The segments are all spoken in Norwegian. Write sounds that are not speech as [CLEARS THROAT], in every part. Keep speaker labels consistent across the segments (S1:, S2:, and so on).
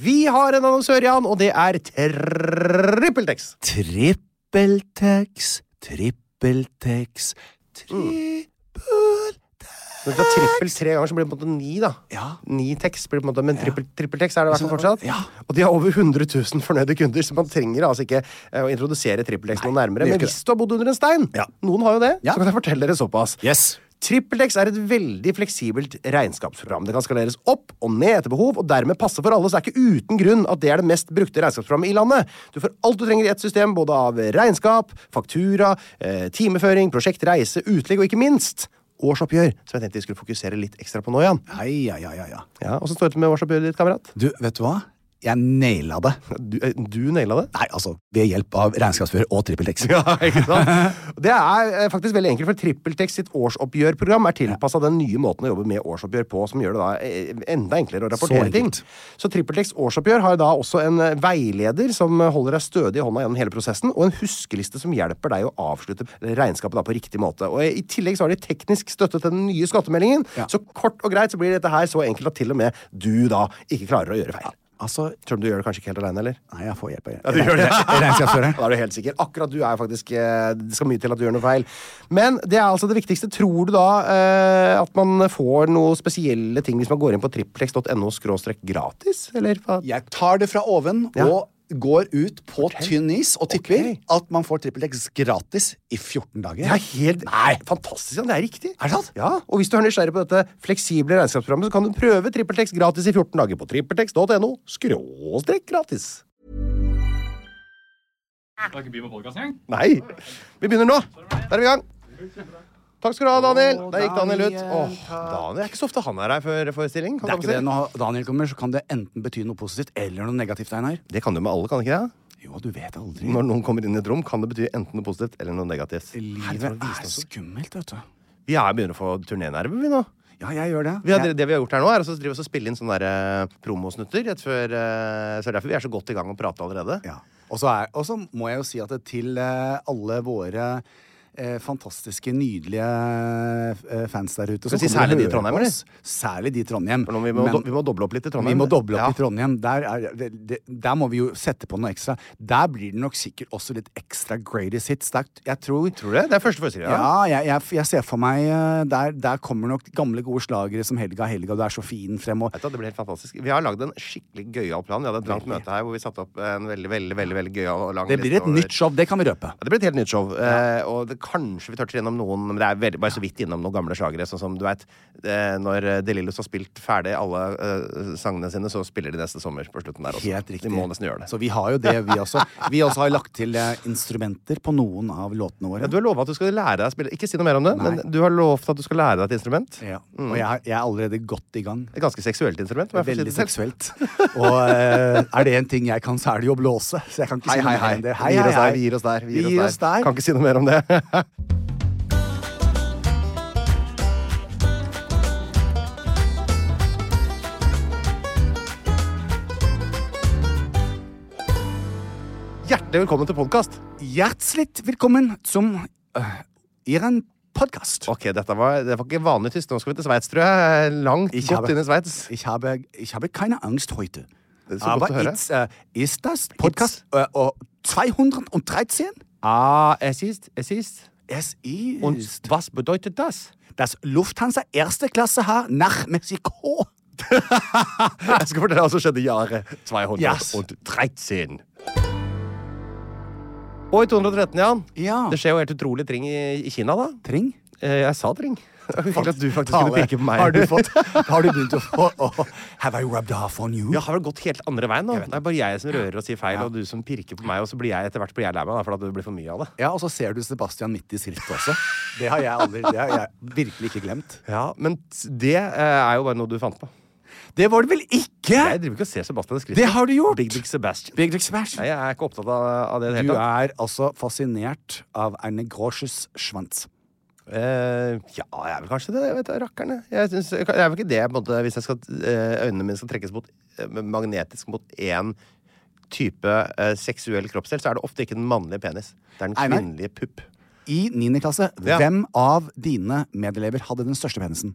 S1: Vi har en annonsør, Jan, og det er TrippelTex.
S2: Trippeltex, trippeltex, trippeltex
S1: Når du tar trippel tre ganger, så blir det på en måte ni, da.
S2: Ja.
S1: Ni tekst blir det på en måte, men trippel, trippeltekst er det i hvert fall fortsatt.
S2: Altså, Ja.
S1: Og de har over 100 000 fornøyde kunder, så man trenger altså ikke eh, å introdusere trippeltekst noe nærmere.
S2: det gjør
S1: Men
S2: ikke
S1: hvis du har bodd under en stein,
S2: Ja.
S1: noen har jo det,
S2: Ja.
S1: så kan jeg fortelle dere såpass.
S2: Yes.
S1: TrippelTex er et veldig fleksibelt regnskapsprogram. Det kan skaleres opp og ned etter behov, og dermed passe for alle, så det er ikke uten grunn at det er det mest brukte regnskapsprogrammet i landet. Du får alt du trenger i ett system, både av regnskap, faktura, eh, timeføring, prosjekt, reise, utlegg og ikke minst årsoppgjør, som jeg tenkte vi skulle fokusere litt ekstra på nå, Jan.
S2: Ai, ja, ja, ja, ja.
S1: Ja, Åssen står det til med årsoppgjøret ditt, kamerat?
S2: Du, vet du hva? Jeg naila det.
S1: Du, eh, du naila det. [LAUGHS]
S2: Nei, altså, ved hjelp av regnskapsfører og trippeltex.
S1: Ja, ikke sant? Det er eh, faktisk veldig enkelt, for TrippelTex sitt årsoppgjørprogram er tilpassa den nye måten å jobbe med årsoppgjør på, som gjør det da eh, enda enklere å rapportere
S2: Så
S1: ting.
S2: enkelt.
S1: Så TrippelTex årsoppgjør har da også en eh, veileder som eh, holder deg stødig i hånda gjennom hele prosessen, og en huskeliste som hjelper deg å avslutte regnskapet da på riktig måte. Og eh, I tillegg så har de teknisk støtte til den nye skattemeldingen,
S2: Ja.
S1: så kort og greit så blir dette her så enkelt at til og med du da ikke klarer å gjøre feil.
S2: Altså,
S1: Selv om du gjør det kanskje ikke helt aleine, eller?
S2: nei, jeg får hjelp av
S1: du gjør
S2: [LAUGHS]
S1: det.
S2: regnskapsføreren.
S1: Da er du helt sikker. Akkurat du er faktisk eh, Det skal mye til at du gjør noe feil. Men det er altså det viktigste. Tror du da eh, at man får noen spesielle ting hvis man går inn på triplex.no skråstrek gratis? Eller hva?
S2: Jeg tar det fra oven
S1: Ja.
S2: og går ut på tynn is og tipper
S1: Ok.
S2: at man får trippeltex gratis i 14 dager.
S1: Det er helt Nei, fantastisk! Jan. Det er riktig.
S2: Er det sant?
S1: Ja, Og hvis du er nysgjerrig på dette fleksible regnskapsprogrammet, så kan du prøve TrippelTex gratis i 14 dager på trippeltex.no skråstrek gratis.
S3: Skal ikke by med podkast engang?
S1: Nei! Vi begynner nå. Der er vi i gang. Takk skal du ha, Daniel. Der gikk Daniel ut.
S2: Daniel,
S1: Åh, Daniel, Det er ikke så ofte han er her før forestilling. kan
S2: Det er
S1: man
S2: ikke
S1: si.
S2: det. Når Daniel kommer, så kan det enten bety noe positivt eller noe negativt. Einar.
S1: Det kan du med alle, kan det ikke det?
S2: Jo, du vet aldri.
S1: Når noen kommer inn i et rom, kan det bety enten noe positivt eller noe negativt.
S2: Livet er skummelt, vet du.
S1: Vi er begynner å få turnénerver, vi nå.
S2: Ja, jeg gjør det.
S1: Vi har,
S2: Jeg-
S1: det vi har gjort her nå, er å drive oss og spille inn sånne der, eh, promosnutter rett før eh, Så det er derfor vi er så godt i gang og prater allerede.
S2: Ja. Og så er- og så må jeg jo si at det til eh, alle våre eh, fantastiske, nydelige eh, fans der ute
S1: Skal vi si
S2: kommer og
S1: særlig de i
S2: hører
S1: Trondheim,
S2: på oss. Særlig de i Trondheim.
S1: For nå, vi, må
S2: Men-
S1: do, vi må doble opp litt i Trondheim.
S2: Vi må doble opp
S1: Ja.
S2: i Trondheim. Der, er, det- det, der må vi jo sette på noe ekstra. Der blir det nok sikkert også litt ekstra greatest hits. Der, jeg tror,
S1: Tror du det? Det er første forestilling.
S2: Ja, jeg, jeg, jeg ser for meg eh, der, der kommer nok gamle, gode slagere som Helga, Helga, du er så fin frem og
S1: Vet du hva, Det blir helt fantastisk. Vi har lagd en skikkelig gøyal plan. Vi hadde et langt møte her hvor vi satte opp en veldig veldig, veldig, veldig gøyal og lang
S2: Det blir
S1: liste
S2: et
S1: over-
S2: nytt show, det kan vi røpe.
S1: Ja, det blir et helt nytt show. Eh, og det, kanskje vi toucher innom noen Men det er veldig, bare så vidt innom noen gamle slagere. Sånn som du vet, eh, når eh, De Lillos har spilt ferdig alle eh, sangene sine, så spiller de neste sommer på slutten der også.
S2: Helt riktig.
S1: Vi må nesten gjøre det.
S2: Så vi har jo det, vi også. Vi også har lagt til eh, instrumenter på noen av
S1: ja,
S2: låtene våre.
S1: du har lova at du skal lære deg å spille Ikke si noe mer om det,
S2: Nei.
S1: men du har lovt at du skal lære deg et instrument.
S2: Ja. Og jeg, er- jeg er allerede godt i gang.
S1: Et ganske seksuelt instrument. Mm. må jeg få si
S2: Veldig
S1: det selv.
S2: seksuelt. Og eh, er det en ting jeg kan, så er det jo å blåse. Så jeg kan ikke
S1: Hei,
S2: si noe
S1: hei,
S2: mer
S1: hei.
S2: enn det.
S1: Vi gir oss der. Vi gir oss der.
S2: Vi gir oss der.
S1: Kan ikke si noe mer om det. [LAUGHS] Hjertelig velkommen til podkast.
S2: Hjertelig velkommen som øh, Iren podkast.
S1: Ok, dette var, det var ikke vanlig tysk. Nå skal vi til Sveits, tror jeg. Langt,
S2: Ich
S1: godt
S2: habe-
S1: inn i Sveits.
S2: Ich habe, ich habe keine Angst heute.
S1: Det er så
S2: Aber
S1: godt å høre.
S2: it's, äh, ist das Podcast äh, äh, 213?
S1: Ah, es ist, es ist.
S2: Es ist
S1: Und was bedeutet das?
S2: das Lufthansa erste Klasse H nach Mexiko.
S1: [LAUGHS] Jeg skal fortelle hva som skjedde i året 213.
S2: Yes.
S1: Og i 213, Jan.
S2: Ja.
S1: Det skjer jo helt utrolig ting i, i Kina, da.
S2: Tring?
S1: Eh, jeg sa [LAUGHS] dring. Hyggelig at du faktisk
S2: Tale.
S1: kunne peke på meg.
S2: Har du,
S1: [LAUGHS]
S2: [LAUGHS] fått, har du begynt å få å, Have I rubbed off on you?
S1: Ja, har vel gått helt andre veien nå. Det er bare jeg som rører og sier feil, og du som pirker på meg, og så blir jeg etter hvert blir jeg lei meg, da, for at det blir for mye av det.
S2: Ja, og så ser du Sebastian midt i skrittet også. Det har jeg aldri, det har jeg virkelig ikke glemt.
S1: Ja, Men t- det eh, er jo bare noe du fant på.
S2: Det var det vel ikke?
S1: Jeg driver ikke og ser Sebastian i skrittet.
S2: Det har du gjort!
S1: Big Big Sebastian.
S2: Big Dick Smash.
S1: Nei, jeg er ikke opptatt av, av det i det
S2: Du
S1: hele tatt.
S2: er altså fascinert av Erne Grosjes svans.
S1: Eh, ja, jeg er vel kanskje det. Jeg vet da, rakkerne. Jeg, synes, jeg er vel ikke det, på en måte, hvis jeg skal, eh, øynene mine skal trekkes mot, eh, magnetisk mot én type eh, seksuell kroppsdel, så er det ofte ikke den mannlige penis. Det er den
S2: Nei, nei.
S1: kvinnelige pupp.
S2: I 9. klasse,
S1: Ja.
S2: hvem av dine medelever hadde den største penisen?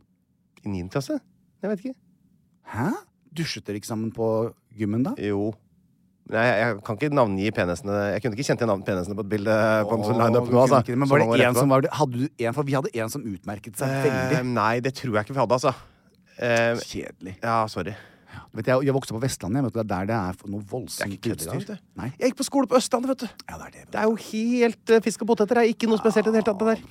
S1: I niende klasse? Jeg vet ikke.
S2: Hæ? Dusjet dere ikke sammen på gymmen da?
S1: Jo. Nei, jeg- jeg kan ikke navngi penisene Jeg kunne ikke kjent igjen navn- penisene på et bilde. På en sånn lineup
S2: Åh,
S1: nå, altså.
S2: kunne ikke det, Men
S1: Så mange
S2: var det
S1: år
S2: en
S1: etterpå.
S2: som var Hadde du en, for vi hadde en som utmerket seg
S1: Eh,
S2: veldig.
S1: Nei, det tror jeg ikke vi hadde, altså. Eh,
S2: Kjedelig.
S1: ja, sorry.
S2: Vet du, jeg, jeg vokste opp på Vestlandet. jeg Vet du, det er der det er noe voldsomt
S1: ikke kødd engang,
S2: utstyr.
S1: vet du.
S2: Nei.
S1: Jeg gikk på skole på Østlandet, vet du.
S2: Ja, det er det.
S1: Det er jo helt eh, fisk og poteter. Det er ikke noe spesielt i det hele tatt. Det der.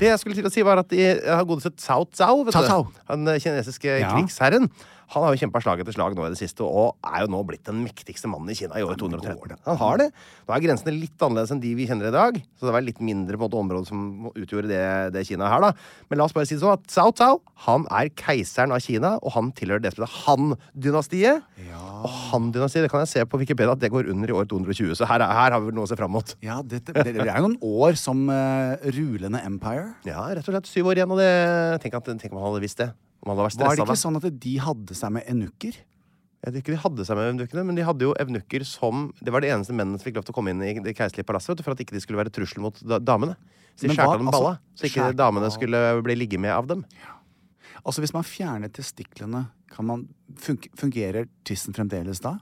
S1: Det jeg skulle til å si, var at de har godesett Cao Cao. Vet
S2: Cao
S1: du.
S2: Cao.
S1: Han eh, kinesiske
S2: Ja.
S1: krigsherren. Han har jo kjempa slag etter slag nå i det siste, og er jo nå blitt den mektigste mannen i Kina i år 213. Han har det. Nå er grensene litt annerledes enn de vi kjenner i dag, så det var litt mindre på en måte område som utgjorde det, det Kina her, da. Men la oss bare si det sånn at Cao Cao han er keiseren av Kina, og han tilhører det som heter Han-dynastiet. Og Han-dynastiet det kan jeg se på Wikipedia at det går under i år 220, så her, er- her har vi vel noe å se fram mot.
S2: Ja, dette, det, det er jo noen år som eh, rulende Empire.
S1: Ja, rett og slett syv år igjen, og det Tenk, at, tenk om han hadde visst det. Om han hadde vært
S2: Var det
S1: stressa.
S2: ikke sånn at de hadde seg med enukker?
S1: Jeg tror ikke de hadde seg med evnukkene, men de hadde jo evnukker som Det var de eneste mennene som fikk lov til å komme inn i det keiserlige palasset vet du, for at ikke de skulle være trussel mot da damene. Så de
S2: Men hva-
S1: skjærte av dem balla,
S2: altså,
S1: så ikke
S2: skjærte-
S1: damene skulle bli ligget med av dem.
S2: Altså Hvis man fjerner testiklene, kan man fun fungerer tissen fremdeles da?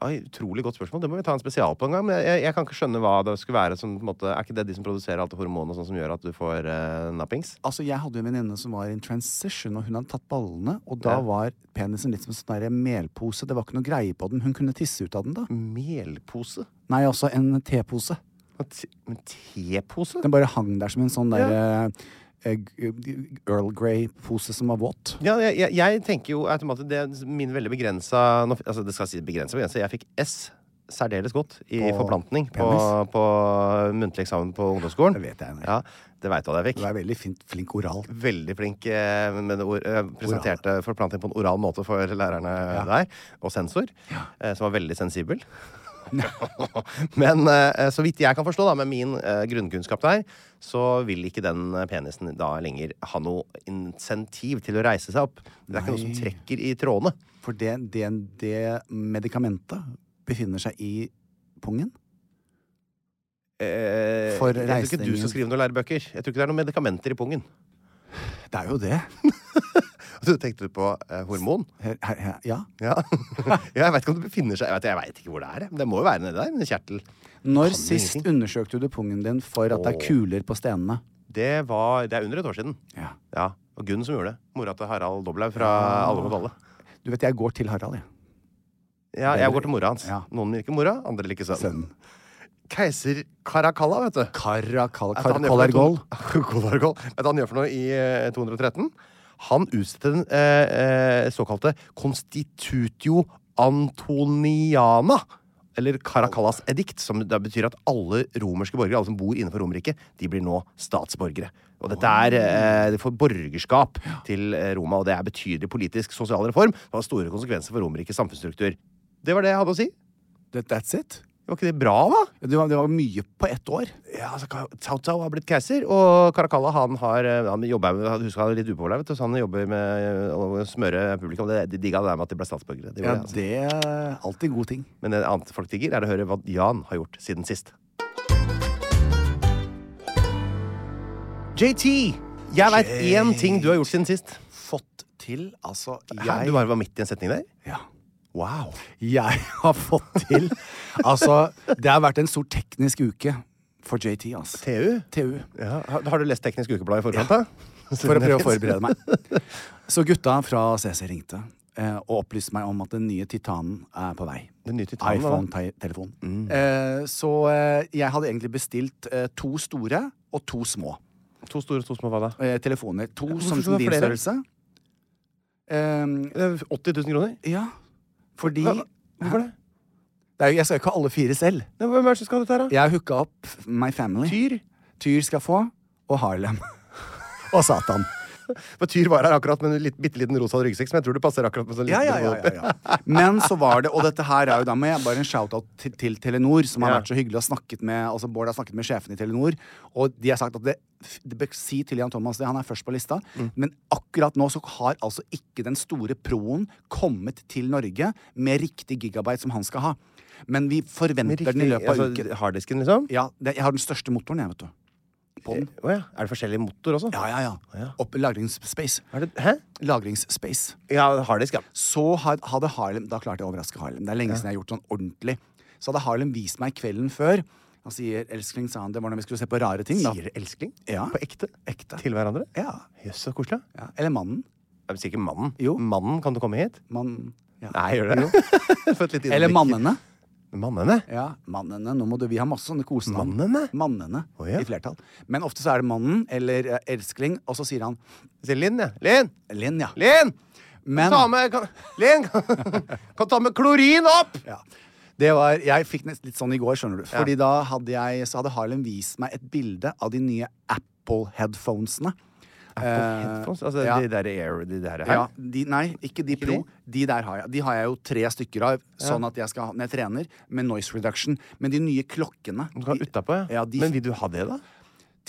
S1: Ja, utrolig godt spørsmål. Det må vi ta en spesial på en gang. Men jeg, jeg kan ikke skjønne hva det skulle være som på en måte, Er ikke det de som produserer alt det hormonet og sånn som gjør at du får eh, nappings?
S2: Altså Jeg hadde jo en venninne som var i en transition, og hun hadde tatt ballene. Og da
S1: Ja.
S2: var penisen litt som en sånn der melpose. Det var ikke noe greie på den. Hun kunne tisse ut av den, da.
S1: Melpose?
S2: Nei, også en tepose.
S1: Hva te- Men tepose?
S2: Den bare hang der som en sånn der eh, eh, Earl Grey-pose som var våt.
S1: Ja, jeg, jeg, jeg tenker jo automatisk det er Min veldig begrensa nå f- Altså, det skal si begrensa, begrensa. Jeg fikk S særdeles godt i
S2: På
S1: forplantning på,
S2: penis?
S1: på muntlig eksamen på ungdomsskolen.
S2: Det vet jeg, nei.
S1: Ja, det veit du hva jeg
S2: Du
S1: fikk.
S2: er veldig fint, flink oralt.
S1: Veldig flink eh, med det ord, eh, presenterte forplanting på en oral måte for lærerne der, og sensor, eh, som var veldig sensibel. [LAUGHS] Men eh, så vidt jeg kan forstå, da, med min eh, grunnkunnskap der, så vil ikke den eh, penisen da lenger ha noe insentiv til å reise seg opp. Det er ikke noe som trekker i trådene.
S2: For det, det, det medikamentet befinner seg i pungen.
S1: Eh,
S2: For
S1: jeg tror ikke du
S2: reisningen.
S1: skal skrive noen lærebøker. Jeg tror ikke det er noen medikamenter i pungen.
S2: Det er jo det.
S1: Du tenkte du på eh, hormon?
S2: Her, her, her, ja.
S1: Ja. [LAUGHS] ja, jeg veit ikke om det befinner seg Jeg vet, jeg vet ikke hvor det er. Men det må jo være nedi der. En kjertel.
S2: Når
S1: Kan du
S2: sist
S1: ingenting?
S2: undersøkte du pungen din for at det er
S1: Åh.
S2: kuler på stenene?
S1: Det, var, det er under et år siden. Ja. Og Gunn som gjorde det. Mora til Harald Doblaug fra
S2: Ah.
S1: Alle mot alle.
S2: Du vet, jeg går til Harald, jeg.
S1: Ja, jeg går til mora hans.
S2: Ja.
S1: Noen liker mora, andre liker sønnen.
S2: Sønnen.
S1: Keiser Caracalla, vet du.
S2: Caracalla
S1: Vet du hva han gjør for noe i to- [LAUGHS] Kolargol. Vet du hva han gjør for noe i eh, 213? Han utstedte den eh, eh, såkalte Constitutio Antoniana. Eller Caracallas edikt, som da betyr at alle romerske borgere alle som bor innenfor Romerriket, de blir nå statsborgere. Og dette er eh, for borgerskap til eh, Roma, og det er betydelig politisk sosial reform. Det har store konsekvenser for Romerrikets samfunnsstruktur. Det var det jeg hadde å si.
S2: That, that's it?
S1: Det Var ikke det bra, da?
S2: Det var, det var mye på ett år.
S1: Ja, altså, Ka- Cao Cao har blitt keiser, og Caracalla han har eh, Han jobber med, han- husker han er litt upopulær, vet du, så han jobber med eh, å smøre publikum. Det, de digga det der med at de ble statsborgere. Det gjorde
S2: Ja,
S1: jeg, altså.
S2: det er alltid en god ting.
S1: Men det annet folk digger, er å høre hva Jan har gjort siden sist. JT, jeg veit én ting du har gjort siden sist.
S2: Fått til, altså
S1: Hæ? Du
S2: jeg,
S1: bare var midt i en setning der?
S2: ja.
S1: Wow.
S2: jeg har fått til Altså, det har vært en stor teknisk uke for JT, altså.
S1: TU?
S2: TU.
S1: Ja. Har, har du lest Teknisk Ukeblad i forkant, [LAUGHS] da?
S2: For å prøve å forberede meg. Så gutta fra CC ringte eh, og opplyste meg om at den nye Titanen er på vei.
S1: Den nye Titanen, Mm. hva da?
S2: iPhone-telefon. Eh, så eh, jeg hadde egentlig bestilt eh, to store og to små
S1: To store, to små hva da?
S2: eh, telefoner. To
S1: Hvorfor
S2: som
S1: skal du ha
S2: din
S1: flere?
S2: størrelse. Eh,
S1: Det er 80 000 kroner.
S2: ja, fordi
S1: Hva- Hvorfor det?
S2: det er, jo- Jeg skal jo ikke ha alle fire selv.
S1: Nei, Hvem er det som skal ha dette her, da?
S2: Jeg har hooka opp My Family.
S1: Tyr?
S2: Tyr skal få. Og Harlem. [LAUGHS] og Satan.
S1: For Tyr var her akkurat med en litt, bitte liten rosa ryggsekk, som jeg tror du passer akkurat med sånn
S2: Ja,
S1: liten
S2: ja, ja, ja, ja. Men så var det, og dette her er jo da med bare en shout-out til, til Telenor, som har
S1: Ja.
S2: vært så hyggelig og snakket med altså Bård har snakket med sjefen i Telenor, og de har sagt at det, det bør si til Jan Thomas det, han er først på lista, men akkurat nå så har altså ikke den store proen kommet til Norge med riktig gigabyte som han skal ha. Men vi
S1: Med
S2: forventer den i
S1: riktig-
S2: løpet av
S1: altså,
S2: uken.
S1: Harddisken, liksom? Eh,
S2: Ja, det, jeg har den største motoren, jeg, vet du. På den.
S1: Å ja. Er det forskjellig motor også?
S2: Ja, ja, ja.
S1: Ja.
S2: Opp, lagringsspace.
S1: Er det, hæ?
S2: Lagringsspace.
S1: Ja, harddisk, ja.
S2: Så had- hadde Harlem Da klarte jeg å overraske Harlem. Det er lenge siden jeg har gjort sånn ordentlig. Så hadde Harlem vist meg kvelden før. Han sier 'elskling', sa han. Det var når vi skulle se på rare ting. da
S1: Sier dere elskling?
S2: Ja.
S1: På ekte?
S2: Ekte.
S1: Til hverandre?
S2: Ja.
S1: Jøss, så koselig.
S2: ja. Eller mannen.
S1: Jeg sier ikke mannen.
S2: Jo.
S1: Mannen, kan du komme hit?
S2: Mannen. Ja.
S1: Nei, gjør det. [LAUGHS] Få et lite innblikk.
S2: Eller mannene.
S1: Mannene?
S2: Ja, mannene. Nå må du, Vi har masse sånne kosenavn.
S1: Mannene?
S2: Mannene
S1: Å, ja.
S2: i flertall. Men ofte så er det mannen eller eh, elskling, og så sier han
S1: Jeg sier Linn, ja. Linn!
S2: Linn, ja.
S1: Linn!
S2: Men
S1: Ta med kan, [LAUGHS] Linn! Kan, kan ta med klorin opp!
S2: Ja. Det var, jeg fikk nest litt sånn i går, skjønner du. Fordi da hadde jeg, så hadde Harlem vist meg et bilde av de nye Apple-headphonesene. Eh,
S1: Headphones, altså
S2: ja.
S1: de der air De der her.
S2: Ja, de, nei, ikke de pro. De der har jeg. De har jeg jo tre stykker av, sånn at jeg skal ha når jeg trener, med noise reduction. Men de nye klokkene
S1: Du kan
S2: de-
S1: utapå, ja.
S2: Ja, de-
S1: Men vil du ha det, da?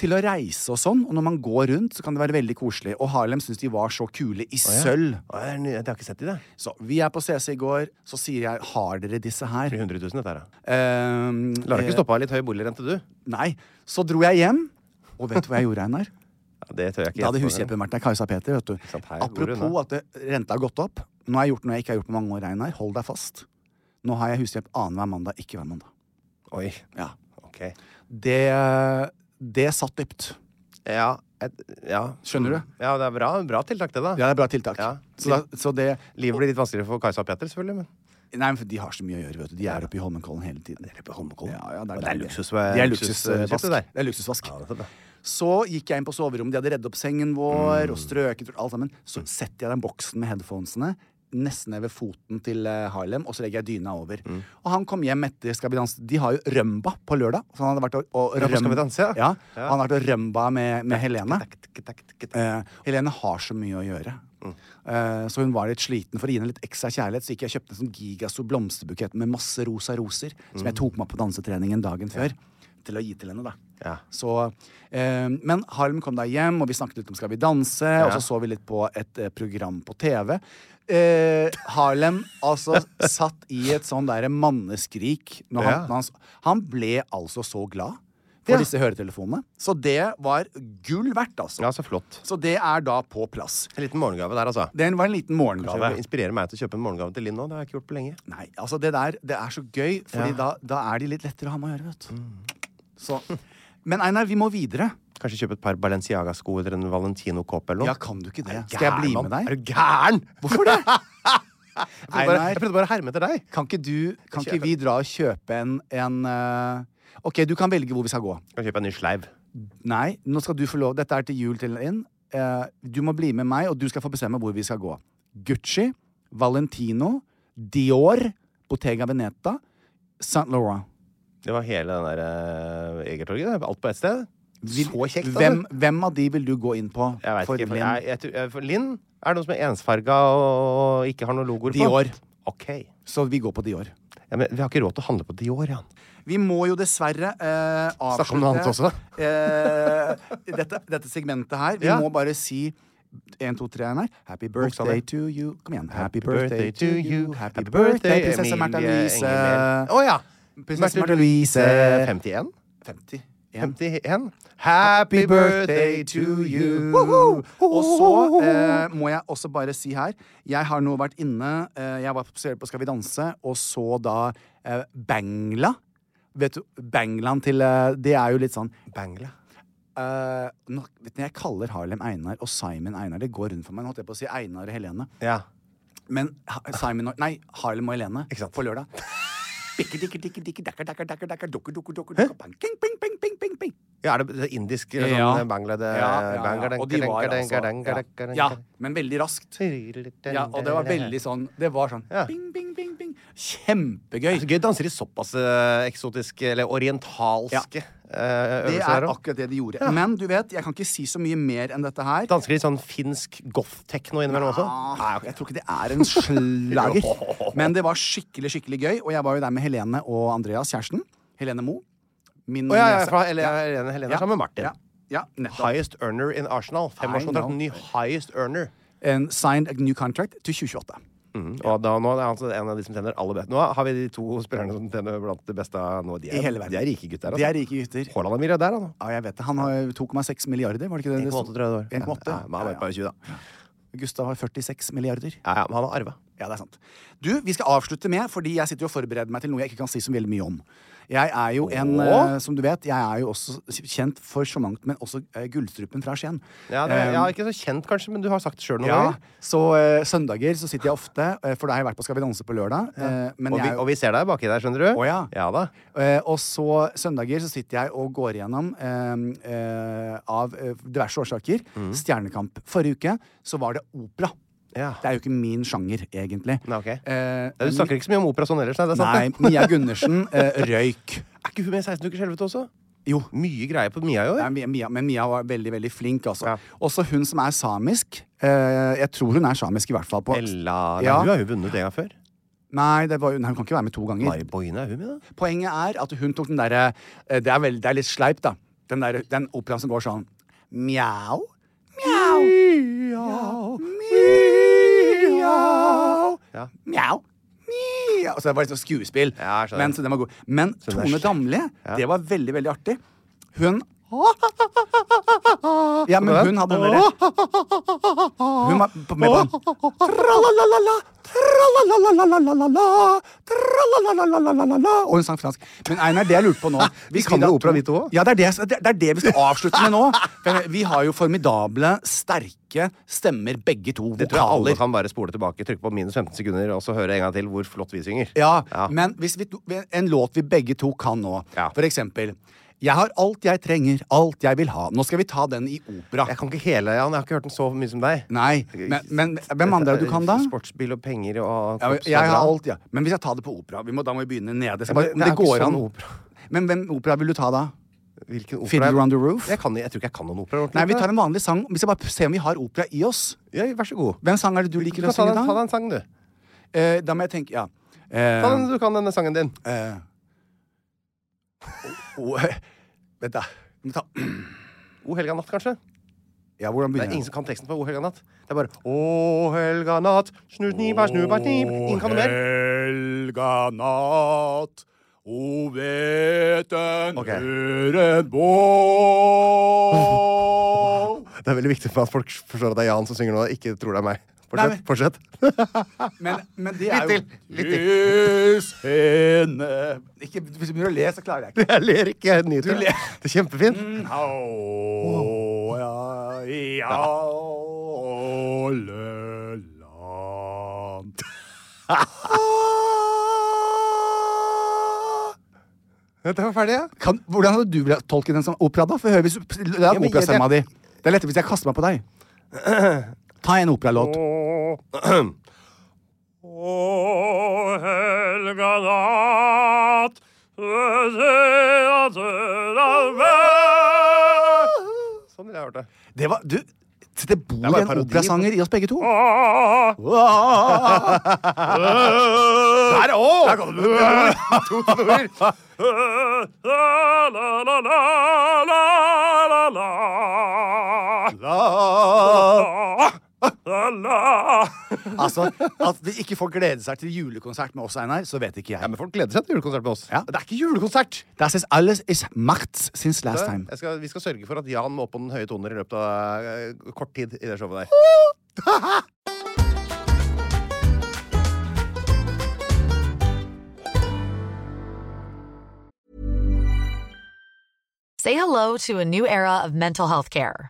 S2: til å reise og sånn, og når man går rundt, så kan det være veldig koselig. Og Harlem syns de var så kule i sølv.
S1: Å, jeg, er ny- jeg har ikke sett de, det.
S2: Så vi er på CC i går, så sier jeg 'har dere disse her'?
S1: 300 000, dette her. da.
S2: Um,
S1: Lar du ikke stoppe av litt høy boligrente, du?
S2: Nei. Så dro jeg hjem, og vet du hva jeg gjorde, Einar?
S1: Ja, det tør jeg ikke.
S2: Da hadde
S1: gjette på.
S2: hushjelpen vært der. Kajsa Peter, vet du.
S1: sant, her bor hun,
S2: Apropos at det, renta har gått opp. Nå har jeg gjort noe jeg ikke har gjort på mange år, Einar. Hold deg fast. Nå har jeg hushjelp annenhver mandag, ikke hver mandag.
S1: Oi.
S2: Ja.
S1: Ok.
S2: Det, det satt dypt.
S1: Ja, et, ja.
S2: Skjønner du?
S1: Ja, det er bra, bra tiltak, det, da.
S2: Det er et bra tiltak.
S1: Ja.
S2: Så, da, så det
S1: Livet blir litt vanskeligere for Kajsa og Petter, selvfølgelig. Men
S2: Nei, men de har så mye å gjøre, vet du. De er oppe i Holmenkollen hele tiden. Dere på Holmenkollen? Ja, ja,
S1: Og
S2: det
S1: det
S2: er,
S1: er
S2: deilig.
S1: luksus-
S2: De er
S1: luksusbudsjettet
S2: luksusvask.
S1: der.
S2: Det er luksusvask.
S1: Ja, det er bra.
S2: så gikk jeg inn på soverommet. De hadde redd opp sengen vår
S1: Mm.
S2: og strøket og alt sammen. Så setter jeg den boksen med headphonesene nesten ned ved foten til eh, Harlem, og så legger jeg dyna over.
S1: Mm.
S2: Og han kom hjem etter Skal vi danse. De har jo Rømba på lørdag. Så han hadde vært og, og
S1: Ja, på Skal vi danse, ja.
S2: ja.
S1: Ja.
S2: Han har vært og Rømba med, med Helene.
S1: Takk, takk, takk, takk, takk.
S2: Eh, Helene har så mye å gjøre.
S1: Mm.
S2: Eh, så hun var litt sliten for å gi henne litt ekstra kjærlighet. Så gikk jeg og kjøpte en sånn gigastor blomsterbukett med masse rosa roser, som
S1: Mm.
S2: jeg tok med på dansetreningen dagen før. Til å gi til henne, da.
S1: Ja.
S2: Så, eh, men Harlem kom da hjem, og vi snakket litt om Skal vi danse, og så så vi litt på et eh, program på TV. Eh, Harlem altså satt i et sånn derre manneskrik. Når han,
S1: Ja.
S2: når han, han ble altså så glad for
S1: Ja.
S2: disse høretelefonene. Så det var gull verdt, altså.
S1: ja, så flott.
S2: Så det er da på plass.
S1: En liten morgengave der, altså.
S2: Den var en liten
S1: Kanskje
S2: morgengave.
S1: det inspirerer meg til å kjøpe en morgengave til Linn nå. Det har jeg ikke gjort på lenge.
S2: Nei, altså det der, det er så gøy, Fordi
S1: Ja. Mm.
S2: da, da er de litt lettere å ha med å gjøre, vet du. Så. Men Einar, vi må videre.
S1: Kanskje kjøpe et par Balenciaga-sko eller en Valentino-kåpe eller noe.
S2: Ja, kan du ikke det? Skal jeg bli
S1: Gæren,
S2: med
S1: mann.
S2: deg?
S1: Er du gæren?
S2: [LAUGHS] Hvorfor det?
S1: Jeg prøvde bare,
S2: Einar.
S1: jeg prøvde bare å herme etter deg.
S2: Kan ikke du, kan ikke vi dra og kjøpe en, en eh, Ok, du kan velge hvor vi skal gå.
S1: Kan kjøpe en ny sleiv.
S2: Nei, nå skal du få lov. Dette er til jul til inn. Eh, du må bli med meg, og du skal få bestemme hvor vi skal gå. Gucci, Valentino, Dior, Bottega Veneta, Saint Laurent.
S1: Det var hele den der uh, Egertorget. det. Alt på ett sted.
S2: Vil-
S1: Så kjekt. da,
S2: Hvem,
S1: du.
S2: hvem av de vil du gå inn på?
S1: Jeg vet
S2: for
S1: ikke. For,
S2: Linn?
S1: jeg, jeg, tror- jeg, for Linn er det noen som er ensfarga og ikke har noen logoer på.
S2: Dior.
S1: Ok.
S2: Så vi går på Dior.
S1: Ja, men vi har ikke råd til å handle på Dior, Jan.
S2: Vi må jo dessverre eh, avslutte
S1: Snakke om noe annet også.
S2: eh, dette, dette segmentet her. Vi
S1: Ja.
S2: må bare si 1, 2, 3 her. Happy birthday
S1: Bokstaver.
S2: to you. Kom igjen.
S1: Happy birthday to you.
S2: Happy birthday, prinsesse Märtha
S1: Emilie
S2: Louise.
S1: Engemel. Å ja.
S2: Prinsesse
S1: Märtha
S2: Märtha Louise.
S1: 51?
S2: 50.
S1: 51. Happy birthday to you.
S2: Woohoo! Og så eh, må jeg også bare si her Jeg har nå vært inne eh, Jeg var spesielt på Skal vi danse, og så da eh, Bangla. Vet du, Banglan til eh, Det er jo litt sånn
S1: Bangla.
S2: eh, nå, vet du, Jeg kaller Harlem Einar og Simon Einar. Det går rundt for meg. Nå holdt jeg på å si Einar og Helene.
S1: Ja.
S2: Men Ha- Simon og Nei, Harlem og Helene
S1: Ikke sant.
S2: på lørdag. Bikke, dikke, dikke, dikke, dakker, dakker, dakker, dakker, dukker, dukker, dukker, dukker, bang, king, bing, bing, bing, bing, bing.
S1: ja, er det det er indisk eller
S2: Ja.
S1: sånn bangla det,
S2: Ja, ja, ja.
S1: bangla,
S2: Og de var
S1: denka,
S2: altså
S1: denka, denka, denka,
S2: ja.
S1: denka.
S2: ja, men veldig raskt. Ja, og det var veldig sånn Det var sånn
S1: Ja.
S2: bing, bing, bing, bing. Kjempegøy.
S1: Så gøy danser de såpass eh, eksotiske, eller orientalske eh,
S2: Det
S1: øvelser
S2: er
S1: her òg.
S2: akkurat det de gjorde. Men du vet, jeg kan ikke si så mye mer enn dette her. Ah,
S1: Dansker de sånn finsk goth-tekno innimellom også?
S2: Nei, jeg tror ikke det er en slager.
S1: [LAUGHS]
S2: Men det var skikkelig skikkelig gøy, og jeg var jo der med Helene og Andreas, kjæresten. Helene Mo. Min
S1: Å ja, ja,
S2: niese.
S1: fra, eller, Helene, Helene
S2: Ja.
S1: er sammen med Martin.
S2: Ja, ja nettopp.
S1: Highest earner in Arsenal.
S2: I
S1: Femårskontrakt.
S2: know.
S1: Ny highest earner.
S2: En signed a new contract til 2028. Mm.
S1: Og da, nå er han altså en av de som tjener aller best. Nå har vi de to spillerne som tjener blant det beste nå. De er,
S2: I hele verden.
S1: De er rike gutter. altså.
S2: De er rike gutter.
S1: Haaland er milliardær, han.
S2: Ja, jeg vet det. Han har 2,6 milliarder, var det ikke det? det?
S1: 1,8 tror jeg det var.
S2: 1,8?
S1: Ja, men han var et par og tjue, da.
S2: Gustav har 46 milliarder.
S1: Ja, ja, men han har arva.
S2: Ja, det er sant. Du, vi skal avslutte med, fordi jeg sitter jo og forbereder meg til noe jeg ikke kan si så veldig mye om. Jeg er jo en,
S1: Åh?
S2: eh, som du vet, jeg er jo også kjent for så mangt, men også eh, Gullstrupen fra Skien. Eh,
S1: Ja, det, ja, ikke så kjent, kanskje, men du har sagt det sjøl noen
S2: Um, Ja,
S1: ganger.
S2: så eh, søndager så sitter jeg ofte, eh, for da har jeg vært på Skal vi danse på lørdag. eh, men
S1: Og vi,
S2: jeg,
S1: og vi ser deg baki der, skjønner du.
S2: Å ja.
S1: da.
S2: Eh, og så søndager så sitter jeg og går igjennom eh, eh, av eh, diverse årsaker
S1: Mm.
S2: Stjernekamp. Forrige uke så var det opera.
S1: Ja.
S2: Det er jo ikke min sjanger, egentlig.
S1: Nei, ok.
S2: Eh,
S1: Ja, Du snakker ikke så mye om opera sånn ellers, nei? Det er sant,
S2: Nei,
S1: det. [LAUGHS]
S2: Mia Gundersen eh, røyk.
S1: Er ikke hun med i 16 ukers helvete også?
S2: Jo.
S1: Mye greier på Mia i år.
S2: Nei, Mia- Mia, men Mia var veldig veldig flink. Altså.
S1: Ja.
S2: Også hun som er samisk. eh, jeg tror hun er samisk, i hvert fall. På.
S1: Ella
S2: Ja.
S1: Hun har jo vunnet en gang før.
S2: Nei, det var, hun- hun kan ikke være med to ganger.
S1: Mari Boine, er hun med, da?
S2: Poenget er at hun tok den derre eh, det, er vel- det er litt sleipt, da. Den, der, den operaen som går sånn Mjau. Mjau. Mjau. Mjau.
S1: Ja.
S2: Mjau. Mjau. Så det var litt sånn skuespill.
S1: Ja, jeg skjønner.
S2: men så den var god. Men
S1: den er
S2: Tone
S1: slem.
S2: Damli,
S1: Ja.
S2: det var veldig, veldig artig. Hun Ja, men
S1: Hvordan?
S2: hun hadde den derre Hun var på- med på den. Tralalalala, tralalalalalalala, tralalalalalalala. Og hun sang fransk. Men Einar, det jeg lurte på nå hvis
S1: kan
S2: da-
S1: jo opera, [LAUGHS] vi to også.
S2: Ja, det er det, det er det vi skal avslutte med nå. For Vi har jo formidable, sterke stemmer, begge to.
S1: Det tror jeg alle
S2: Vokaler.
S1: kan bare spole tilbake, trykke på minus 15 sekunder og så høre en gang til hvor flott vi synger.
S2: Ja,
S1: Ja.
S2: men hvis vi, to- en låt vi begge to kan nå,
S1: Ja.
S2: for eksempel Jeg har alt jeg trenger, alt jeg vil ha. Nå skal vi ta den i opera.
S1: Jeg kan ikke hele, Jan. Jeg har ikke hørt den så mye som deg.
S2: Nei, men, men hvem andre er det du kan, da?
S1: Sportsbil og penger og
S2: Ja, men jeg har alt, ja. Men vi skal ta det på opera. Vi må, da må vi begynne nede. Skal
S1: Ja, men det er
S2: bare, det
S1: ikke
S2: går
S1: sånn
S2: an.
S1: opera.
S2: Men hvem opera vil du ta, da?
S1: Hvilken opera?
S2: Fiddler on the Roof?
S1: Jeg, kan, jeg tror ikke jeg kan noen opera. ordentlig.
S2: Nei, vi tar en vanlig sang. Vi skal bare se om vi har opera i oss.
S1: Ja, vær så god.
S2: Hvem sang er det du
S1: Du
S2: liker
S1: kan
S2: å
S1: ta,
S2: synge,
S1: den, ta
S2: da?
S1: den sangen, du.
S2: Eh, da må jeg tenke, ja.
S1: Ta
S2: Eh,
S1: den, du kan denne sangen din.
S2: eh.
S1: [LAUGHS]
S2: Oh,
S1: eh.
S2: oh, Vent, da. Vi må ta-
S1: O helga natt, kanskje?
S2: Ja, hvordan
S1: Det er
S2: begynner
S1: ingen som
S2: jeg?
S1: kan teksten på O helga natt. Det er bare O helga natt, snurrnipa, snurrpa, snip. Ingen kan noe mer.
S2: helga natt, o hveten
S1: Ok.
S2: høren bål.
S1: Det er veldig viktig for at folk forstår at det er Jan som synger nå, og ikke tror det er meg.
S2: Nei, men-
S1: fortsett. [LAUGHS]
S2: [LAUGHS] Men, men det er jo
S1: Litt til, litt til.
S2: Kyss henne ikke, Hvis du begynner å le, så klarer jeg ikke.
S1: Jeg ler ikke, jeg nyter
S2: ler.
S1: det. Det er kjempefint.
S2: [LAUGHS] Au, ja, i alle land.
S1: Dette var ferdig, ja.
S2: Kan, hvordan hadde du villet tolke den som opera, da? Få høre hvis du- det er
S1: Ja, men jeg-
S2: operastemma di. Det er lettere hvis jeg kaster meg på deg.
S1: [CLEARS THROAT]
S2: Ta en operalåt.
S1: Å helga natt Sånn ville jeg hørt det.
S2: Det var Du, Så det bor
S1: bare
S2: en
S1: parodi på-
S2: operasanger i oss begge to.
S1: Ah. [LAUGHS] Der òg! Der
S2: [LAUGHS]
S1: kom det to toner.
S2: Altså, At de ikke får glede seg til julekonsert med oss, Einar, så vet ikke jeg.
S1: Ja, men Folk gleder seg til julekonsert med oss.
S2: Ja.
S1: Det er ikke julekonsert!
S2: That is alles is machts since last time.
S1: Jeg skal, vi skal sørge for at Jan må opp på den høye toner i løpet av eh, kort tid i det showet der.
S4: Say hello to a new era of mental health care.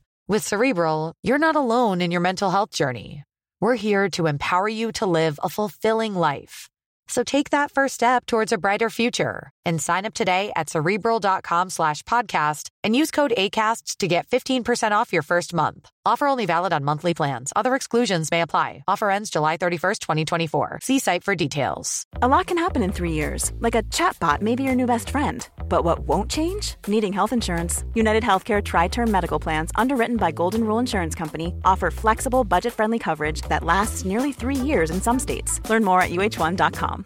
S4: With Cerebral, you're not alone in your mental health journey. We're here to empower you to live a fulfilling life. So take that first step towards a brighter future and sign up today at cerebral.com slash podcast and use code ACAST to get 15% off your first month. Offer only valid on monthly plans. Other exclusions may apply. Offer ends July 31st, 2024. See site for details.
S5: A lot can happen in three years, like a chatbot may be your new best friend. But what won't change? Needing health insurance. United Healthcare Tri Term Medical Plans, underwritten by Golden Rule Insurance Company, offer flexible, budget friendly coverage that lasts nearly three years in some states. Learn more at uh1.com.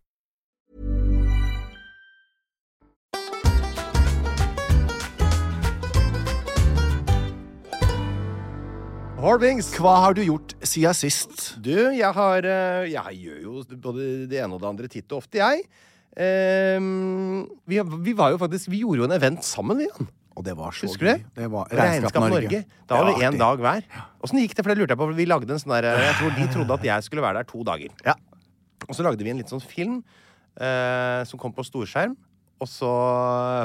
S1: Horbings.
S2: Hva har du gjort siden sist?
S1: Du, jeg har eh, Jeg gjør jo både det ene og det andre titt og ofte, jeg. Ehm, vi, vi var jo faktisk Vi gjorde jo en event sammen, vi, Jan.
S2: Og det var så
S1: Husker du det?
S2: gøy. Det var
S1: Regnskap Norge. Da var vi
S2: Ja,
S1: én dag hver. Åssen gikk det? For det lurte jeg på, for vi lagde en sånn der, Jeg tror de trodde at jeg skulle være der to dager.
S2: Ja.
S1: Og så lagde vi en litt sånn film eh, som kom på storskjerm. Og så,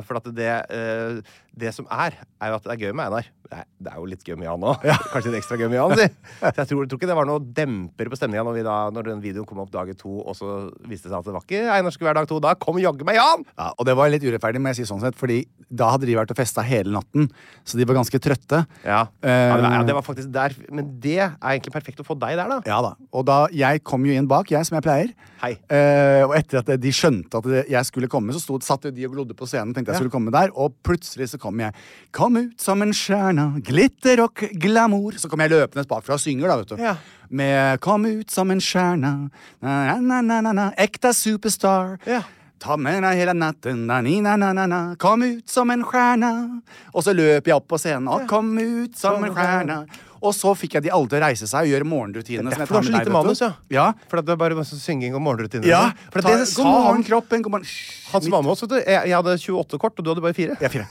S1: for at det, eh, det som er, er jo at det er gøy med Einar. Det er, det er jo litt gøy med Jan òg. [LAUGHS] Kanskje litt ekstra gøy med Jan. [LAUGHS] Si. Så jeg tror, tror ikke det var noe demper på stemninga når, vi da- når den videoen kom opp dagen to, og så viste det seg at det var ikke Einar skulle være dag to. Da kom jaggu meg Jan!
S2: Ja, og det var litt urettferdig, må jeg si sånn sett, fordi da hadde de vært og festa hele natten, så de var ganske trøtte.
S1: Ja,
S2: Eh,
S1: ja, det, var, ja det var faktisk der Men det er egentlig perfekt å få deg der, da.
S2: ja da. Og da, jeg kom jo inn bak, jeg, som jeg pleier.
S1: Hei.
S2: Eh, og etter at de skjønte at det- jeg skulle komme, så stod, satt jo de og glodde på scenen. tenkte jeg skulle komme der, Og plutselig så kom jeg. Kom ut som en stjerne, glitter og glamour. Så kom jeg løpende bakfra og synger, da, vet du.
S1: Ja.
S2: Med Kom ut som en stjerne, na-na-na-na-na, ekte superstar.
S1: Ja.
S2: Ta med deg hele natten, na-ni-na-na-na, kom ut som en stjerne. Og så løp jeg opp på scenen, og kom ut som
S1: Sånn,
S2: en stjerne. Og så fikk jeg de alle til å reise seg og gjøre morgenrutinene. som jeg
S1: Derfor du
S2: tar
S1: har så
S2: med
S1: lite
S2: deg, vet
S1: manus,
S2: du.
S1: ja.
S2: ja.
S1: For at det er bare masse synging og morgenrutiner.
S2: Ja,
S1: for at
S2: ta-
S1: det sa
S2: god morgen,
S1: han,
S2: kroppen. God morgen. Hysj,
S1: han som var med oss, vet du. Jeg, jeg hadde 28 kort, og du hadde bare fire.
S2: Jeg er fire.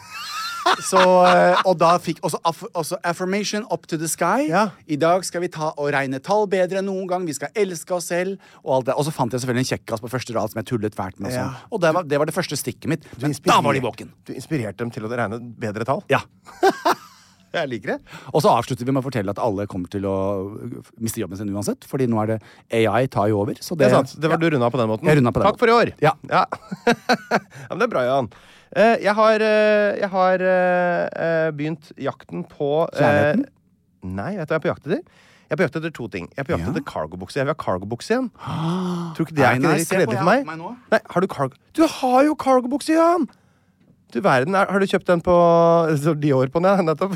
S2: Så, eh, og da fikk også, aff, også Affirmation Up to the Sky.
S1: Ja.
S2: I dag skal vi ta og regne tall bedre enn noen gang. Vi skal elske oss selv. Og, alt det. og så fant jeg selvfølgelig en kjekkas på første rad som jeg tullet fælt med. Og, sånn.
S1: Ja.
S2: og det, var, det var det første stikket mitt. Men da var de våken.
S1: Du inspirerte dem til å regne bedre tall.
S2: Ja.
S1: Jeg liker det.
S2: Og så avslutter vi med å fortelle at alle kommer til å miste jobben sin uansett. Fordi nå er det AI tar jo over. Så
S1: Det
S2: det,
S1: er sant. Det var
S2: ja.
S1: du runda på den måten.
S2: Jeg rundet på den
S1: Takk for i år.
S2: Ja.
S1: [LAUGHS] ja, men det er bra, Jan. Eh, Jeg har, eh, jeg har eh, eh, begynt jakten på eh,
S2: Kjærligheten?
S1: Nei, vet du hva jeg er på jakt etter? Jeg er på jakt etter to ting. Jeg er på jakt
S2: Ja.
S1: etter cargobukse. Jeg vil ha cargobukse
S2: [GASPS]
S1: igjen. Tror ikke det er
S2: Einar,
S1: ikke det
S2: se på,
S1: kledelig
S2: jeg
S1: for meg?
S2: har på meg nå.
S1: Nei, har du cargo... Du har jo cargobukse, Jan! Du verden, er- har du kjøpt den på [LAUGHS] så Dior på den? ja, Nettopp.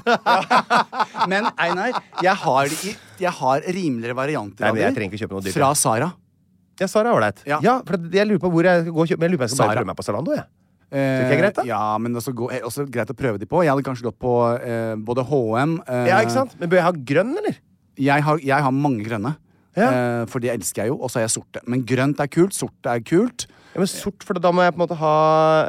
S1: [LAUGHS]
S2: Men Einar, jeg har, de i- jeg har rimeligere varianter
S1: Nei, men jeg
S2: de
S1: trenger ikke kjøpe noe dyrt,
S2: Fra
S1: jeg.
S2: Sara.
S1: ja, Sara er ålreit.
S2: Ja.
S1: Ja, for det- jeg lurer på hvor jeg skal gå og kjøpe. Men jeg lurer på om jeg skal bare
S2: Zara.
S1: prøve meg på Zalando, jeg.
S2: Eh,
S1: ikke det er greit, da?
S2: Ja, men også, gå, eh, også greit å prøve de på. Jeg hadde kanskje gått på eh, både HM eh,
S1: Ja, ikke sant? Men bør jeg ha grønn, eller?
S2: Jeg har, jeg har mange grønne.
S1: Ja.
S2: Eh, for de elsker jeg jo. Og så har jeg sorte. Men grønt er kult, sort er kult.
S1: Ja, men sort, for da må jeg på en måte ha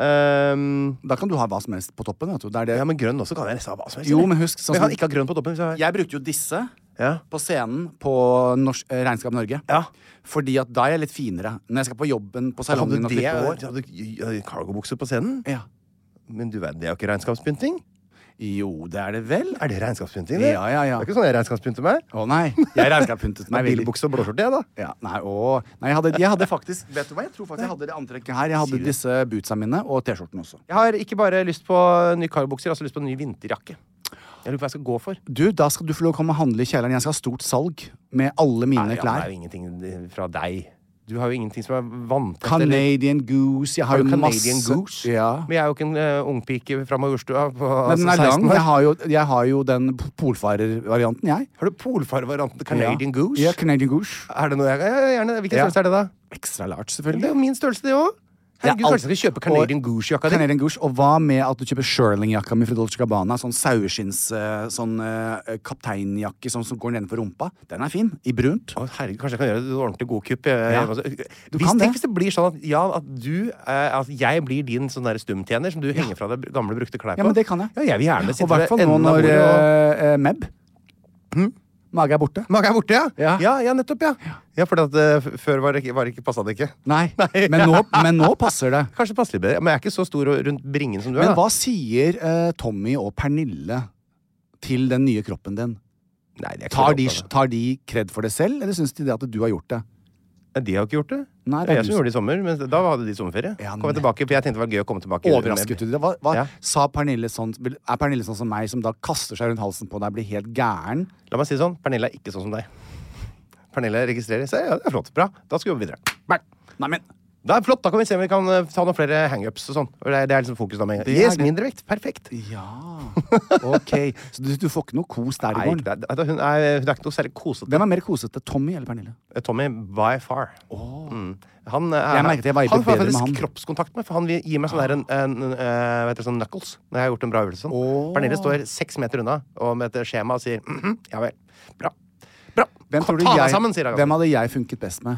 S1: ehm,
S2: Da kan du ha hva som helst på toppen. Vet du. Det er det.
S1: Ja, men grønn også kan jeg nesten ha hva som helst.
S2: Jo,
S1: eller?
S2: men husk, sånn
S1: jeg kan
S2: som-
S1: ikke ha grønn på toppen. Hvis jeg har...
S2: Jeg brukte jo disse
S1: Ja.
S2: på scenen på norsk, eh, Regnskap Norge.
S1: Ja.
S2: Fordi at da er jeg litt finere. Når jeg skal på jobben på
S1: Hadde
S2: salongen og
S1: du det?
S2: klippe hår.
S1: Hadde du hadde cargobukser på scenen?
S2: Ja.
S1: Men du verden, det er jo ikke regnskapspynting.
S2: Jo, det er det vel.
S1: Er det regnskapspynting?
S2: Ja, ja, ja.
S1: Det er ikke sånn jeg regnskapspynter meg.
S2: Å nei. Jeg regnskapspyntet
S1: [LAUGHS]
S2: meg veldig.
S1: Bilbukse og blåskjorte, jeg, da.
S2: Ja, nei, å. nei jeg, hadde, jeg hadde faktisk Vet du hva, jeg tror faktisk jeg hadde det antrekket her. Jeg hadde disse bootsa mine og T-skjorten også.
S1: Jeg har ikke bare lyst på ny carbukser, jeg har også lyst på en ny vinterjakke. Jeg lurer på hva jeg skal gå for.
S2: Du, da skal du få lov å komme og handle i kjelleren. Jeg skal ha stort salg med alle mine
S1: Nei, ja, det er
S2: klær.
S1: jo ingenting fra deg. Du har jo ingenting som er vanntett. eller-
S2: Canadian Goose. Jeg har
S1: Har du
S2: jo
S1: Canadian
S2: masse
S1: Goose?
S2: Ja.
S1: Men jeg er jo ikke en eh, ungpike fra Majorstua på
S2: Men
S1: altså,
S2: den er lang.
S1: 16 år.
S2: Jeg har jo, jeg har jo den polfarervarianten, jeg.
S1: Har du polfarvarianten til Canadian
S2: ja.
S1: Goose?
S2: Ja, Canadian Goose.
S1: Er det noe jeg ja, ja, gjerne, Hvilken
S2: Ja.
S1: størrelse er det, da?
S2: Ekstra large,
S1: Det er
S2: selvfølgelig.
S1: jo min størrelse, det òg. Herregud,
S2: alt-
S1: kanskje jeg skal kjøpe Canadian
S2: og-
S1: Goose-jakka di?
S2: Canadian Goose, Og hva med at du kjøper Sherling-jakka mi fra Dolce Gabbana? Sånn saueskinns eh, sånn, eh, kapteinjakke sånn, som går nedenfor rumpa. Den er fin. I brunt.
S1: Å, herregud, Kanskje jeg kan gjøre et ordentlig godkupp. jeg-
S2: Ja.
S1: altså,
S2: Du
S1: hvis,
S2: kan
S1: tenk hvis
S2: det.
S1: det blir sånn at, ja, at du eh, At jeg blir din sånn der stumtjener som du henger fra deg gamle, brukte klær på.
S2: Ja, men det kan jeg.
S1: Ja, jeg vil gjerne sitte
S2: Og i hvert
S1: ved
S2: fall nå
S1: enden av
S2: når
S1: bordet og- Hm?
S2: eh, eh, Meb Mage er borte.
S1: Mage er borte, ja?
S2: Ja.
S1: ja, ja, nettopp, ja. Ja, for at, eh, f- før var det ikke, var det ikke passa det ikke.
S2: [LAUGHS] Nei, Men, nå, men nå
S1: [LAUGHS]
S2: passer det.
S1: Kanskje det passer litt bedre. Men jeg er ikke så stor og rundt bringen som du er. da.
S2: Men hva sier eh, Tommy og Pernille til den nye kroppen din?
S1: Nei, de er ikke så
S2: Tar de,
S1: opptatt av
S2: tar de kred for det selv, eller syns de det at du har gjort det?
S1: det. De har ikke gjort det.
S2: Nei,
S1: det er jeg
S2: det er du
S1: som gjorde det i sommer, men da hadde de sommerferie.
S2: Ja,
S1: kom jeg
S2: nett-
S1: tilbake, for jeg tenkte det var gøy å komme tilbake.
S2: Overrasket du deg? Hva, hva,
S1: Ja.
S2: sa Pernille sånn, vil- er Pernille sånn som meg, som da kaster seg rundt halsen på deg, blir helt gæren?
S1: La meg si det sånn, Pernille er ikke sånn som deg. Pernille registrerer. Se, ja, det er flott. Bra. Da skal vi jobbe videre. Bang.
S2: Nei, men
S1: Da er det flott, da kan vi se om vi kan eh, ta noen flere hangups og sånn. Og Det, er- det er liksom fokus da med en gang.
S2: Det er
S1: Yes,
S2: det.
S1: mindre vekt. Perfekt.
S2: Ja. [LAUGHS] Ok. Så du, du får ikke noe kos der i
S1: Nei,
S2: gården?
S1: det er, det er- hun, er, hun er ikke noe særlig kosete.
S2: Hvem er mer kosete, Tommy eller Pernille?
S1: Eh, Tommy by far. Mm. Han, eh,
S2: Jeg merket jeg vibet
S1: han får
S2: bedre med
S1: faktisk
S2: han.
S1: kroppskontakt med, for han vil gi meg sånn der en, en, eh, vet dere, sånn knuckles når jeg har gjort en bra øvelse. Sånn. Pernille står seks meter unna og med et skjema og sier mhm, ja vel. Bra. Bra.
S2: Hvem,
S1: Ta
S2: tror du
S1: deg
S2: jeg,
S1: sammen, sier han.
S2: hvem hadde jeg funket best med?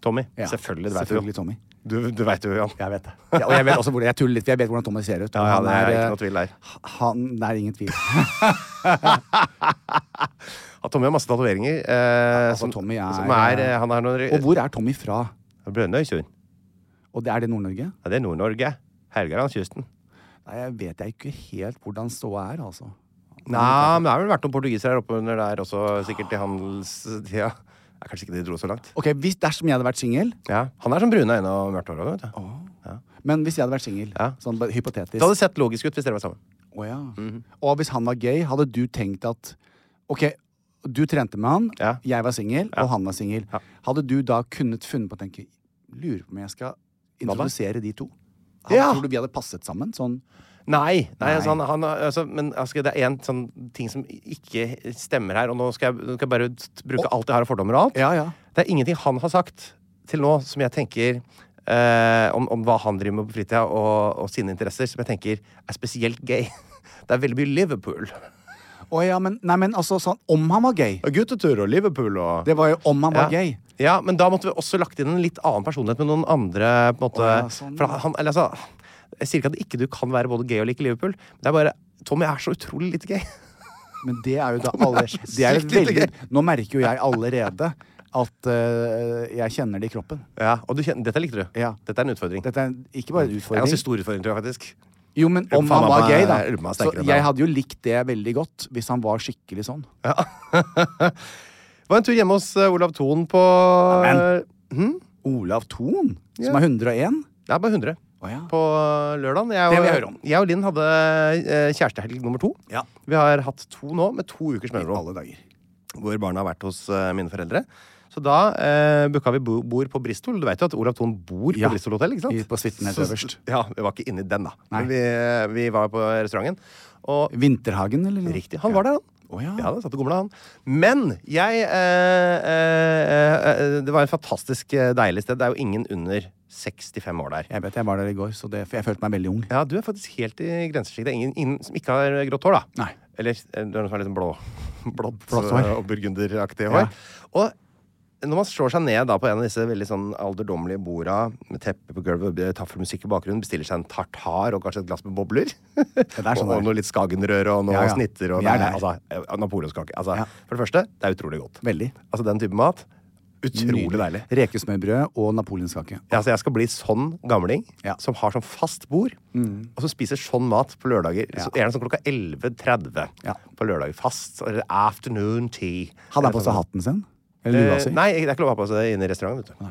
S1: Tommy.
S2: Ja,
S1: Selvfølgelig. Det vet
S2: selvfølgelig
S1: du.
S2: Tommy.
S1: Du, du vet jo, Jan.
S2: Jeg vet det. [LAUGHS] Ja, og jeg vet også hvor, jeg tuller litt, for jeg vet hvordan Tommy ser ut.
S1: Ja, ja,
S2: Han
S1: det er ikke
S2: eh,
S1: noe tvil der.
S2: Han, det er ingen
S1: [LAUGHS]
S2: tvil.
S1: At Tommy har masse tatoveringer. Eh,
S2: altså,
S1: som,
S2: Tommy er-
S1: som er eh, Han har noen
S2: Og hvor er Tommy fra?
S1: Brønnøysund.
S2: Og det er det Nord-Norge?
S1: Ja, det er Nord-Norge. Helgelandskysten.
S2: Nei, jeg vet jeg ikke helt hvordan ståa er, altså.
S1: Nei, men det har vel vært noen portugisere her oppe under der også, sikkert i handelstida. Ja, kanskje ikke de dro så langt.
S2: Ok, hvis, Dersom jeg hadde vært singel,
S1: Ja, Han er sånn brune øyne og mørkt hår. også, vet du.
S2: men hvis jeg hadde vært singel,
S1: Ja.
S2: sånn bare hypotetisk
S1: Det hadde sett logisk ut hvis dere var sammen.
S2: Å ja.
S1: Mhm.
S2: Og hvis han var gay, hadde du tenkt at Ok, du trente med han,
S1: Ja.
S2: jeg var singel, og han var singel.
S1: Ja.
S2: Hadde du da kunnet funnet på å tenke Lurer på om jeg skal introdusere de to?
S1: Ja.
S2: Tror du vi hadde passet sammen? Sånn
S1: Nei! nei,
S2: Nei.
S1: Altså, han, han, altså, men altså, det er én sånn ting som ikke stemmer her, og nå skal jeg, nå skal jeg bare t- bruke alt jeg har av fordommer og alt.
S2: Ja, ja.
S1: Det er ingenting han har sagt til nå som jeg tenker eh, om, om hva han driver med på fritida og, og sine interesser, som jeg tenker er spesielt gay. [LAUGHS] Det er veldig mye Liverpool.
S2: Å ja, men, nei, men altså sånn Om han var gay.
S1: Guttetur og Liverpool og
S2: Det var jo om han var gay.
S1: Ja, men da måtte vi også lagt inn en litt annen personlighet med noen andre på en måte.
S2: Å, ja, sånn,
S1: For
S2: ja.
S1: han, eller altså, jeg sier ikke at ikke du kan være både gay og like Liverpool. men Det er bare Tommy er så utrolig litt gay.
S2: Men det er
S1: [LAUGHS]
S2: jo da alle det er et
S1: sykt lite
S2: veldig, Nå merker jo jeg allerede at eh, jeg kjenner det i kroppen.
S1: Ja, [LAUGHS] og du kjenner, Dette likte du.
S2: Ja.
S1: Dette er en utfordring.
S2: Dette er ikke bare en
S1: Det er en
S2: utfordring.
S1: ganske stor utfordring, tror jeg faktisk.
S2: Jo, men
S1: Faen,
S2: om han var
S1: han er-
S2: gay, da.
S1: jeg lurer på om han er
S2: Så
S1: sterkere enn
S2: jeg
S1: meg.
S2: hadde jo likt det veldig godt hvis han var skikkelig sånn.
S1: Det var en tur hjemme hos eh, Olav Thon på
S2: Amen.
S1: Hm?
S2: Olav Thon, som er 101.
S1: Det er bare 100.
S2: Å, ja.
S1: På eh, lørdagen. Jeg
S2: Det
S1: og,
S2: vil jeg høre om.
S1: jeg og Linn hadde eh, kjærestehelg nummer to.
S2: Ja.
S1: Vi har hatt to nå, med to ukers mellomrom.
S2: Alle dager.
S1: Hvor barna har vært hos eh, mine foreldre. Så da eh, booka vi bo- bord på Bristol. Du vet jo at Olav Thon bor
S2: Ja.
S1: på Bristol hotell, ikke sant?
S2: I- på suiten helt
S1: Så-
S2: øverst.
S1: Ja, vi var ikke inne i den, da.
S2: Nei.
S1: Men vi, vi var på restauranten. Og
S2: Vinterhagen, eller? noe?
S1: Riktig. Han var der, han.
S2: Å, ja.
S1: da satt og gomla, han. Men jeg eh, eh, eh, Det var et fantastisk eh, deilig sted. Det er jo ingen under 65 år der.
S2: Jeg vet, jeg var der i går, så det, for jeg følte meg veldig ung.
S1: Ja, du er faktisk helt i grensesjiktet. Det er ingen, ingen som ikke har grått hår, da.
S2: Nei.
S1: Eller eh, du er noen som er litt blå. [LAUGHS] Blått
S2: Blått hår.
S1: eh, og burgunderaktig
S2: Ja.
S1: hår. Og når man slår seg ned da på en av disse veldig sånn alderdommelige borda med teppe på gulvet, eh, taffelmusikk i bakgrunnen, bestiller seg en tartar og kanskje et glass med
S2: [LAUGHS]
S1: bobler
S2: er sånn
S1: og, og
S2: det er.
S1: noe litt skagenrør og noe
S2: Ja, ja.
S1: snitter og
S2: Vi er
S1: nei,
S2: der.
S1: altså, eh, napoleonskake. Altså,
S2: Ja.
S1: For det første, det er utrolig godt.
S2: Veldig.
S1: Altså den type mat. Utrolig deilig.
S2: Rekesmørbrød og napoleonskake.
S1: Ja, altså jeg skal bli sånn gamling
S2: Ja. Mm.
S1: som har sånn fast bord, og som spiser sånn mat på lørdager. Så gjerne sånn klokka 11.30
S2: Ja.
S1: på lørdager. Fast. Eller afternoon tea.
S2: Hadde han på seg
S1: Eller sånn.
S2: hatten sin? Eller lua
S1: Eh,
S2: si?
S1: Nei, det er ikke lov å ha på seg inne i restaurant. vet du.
S2: Nei.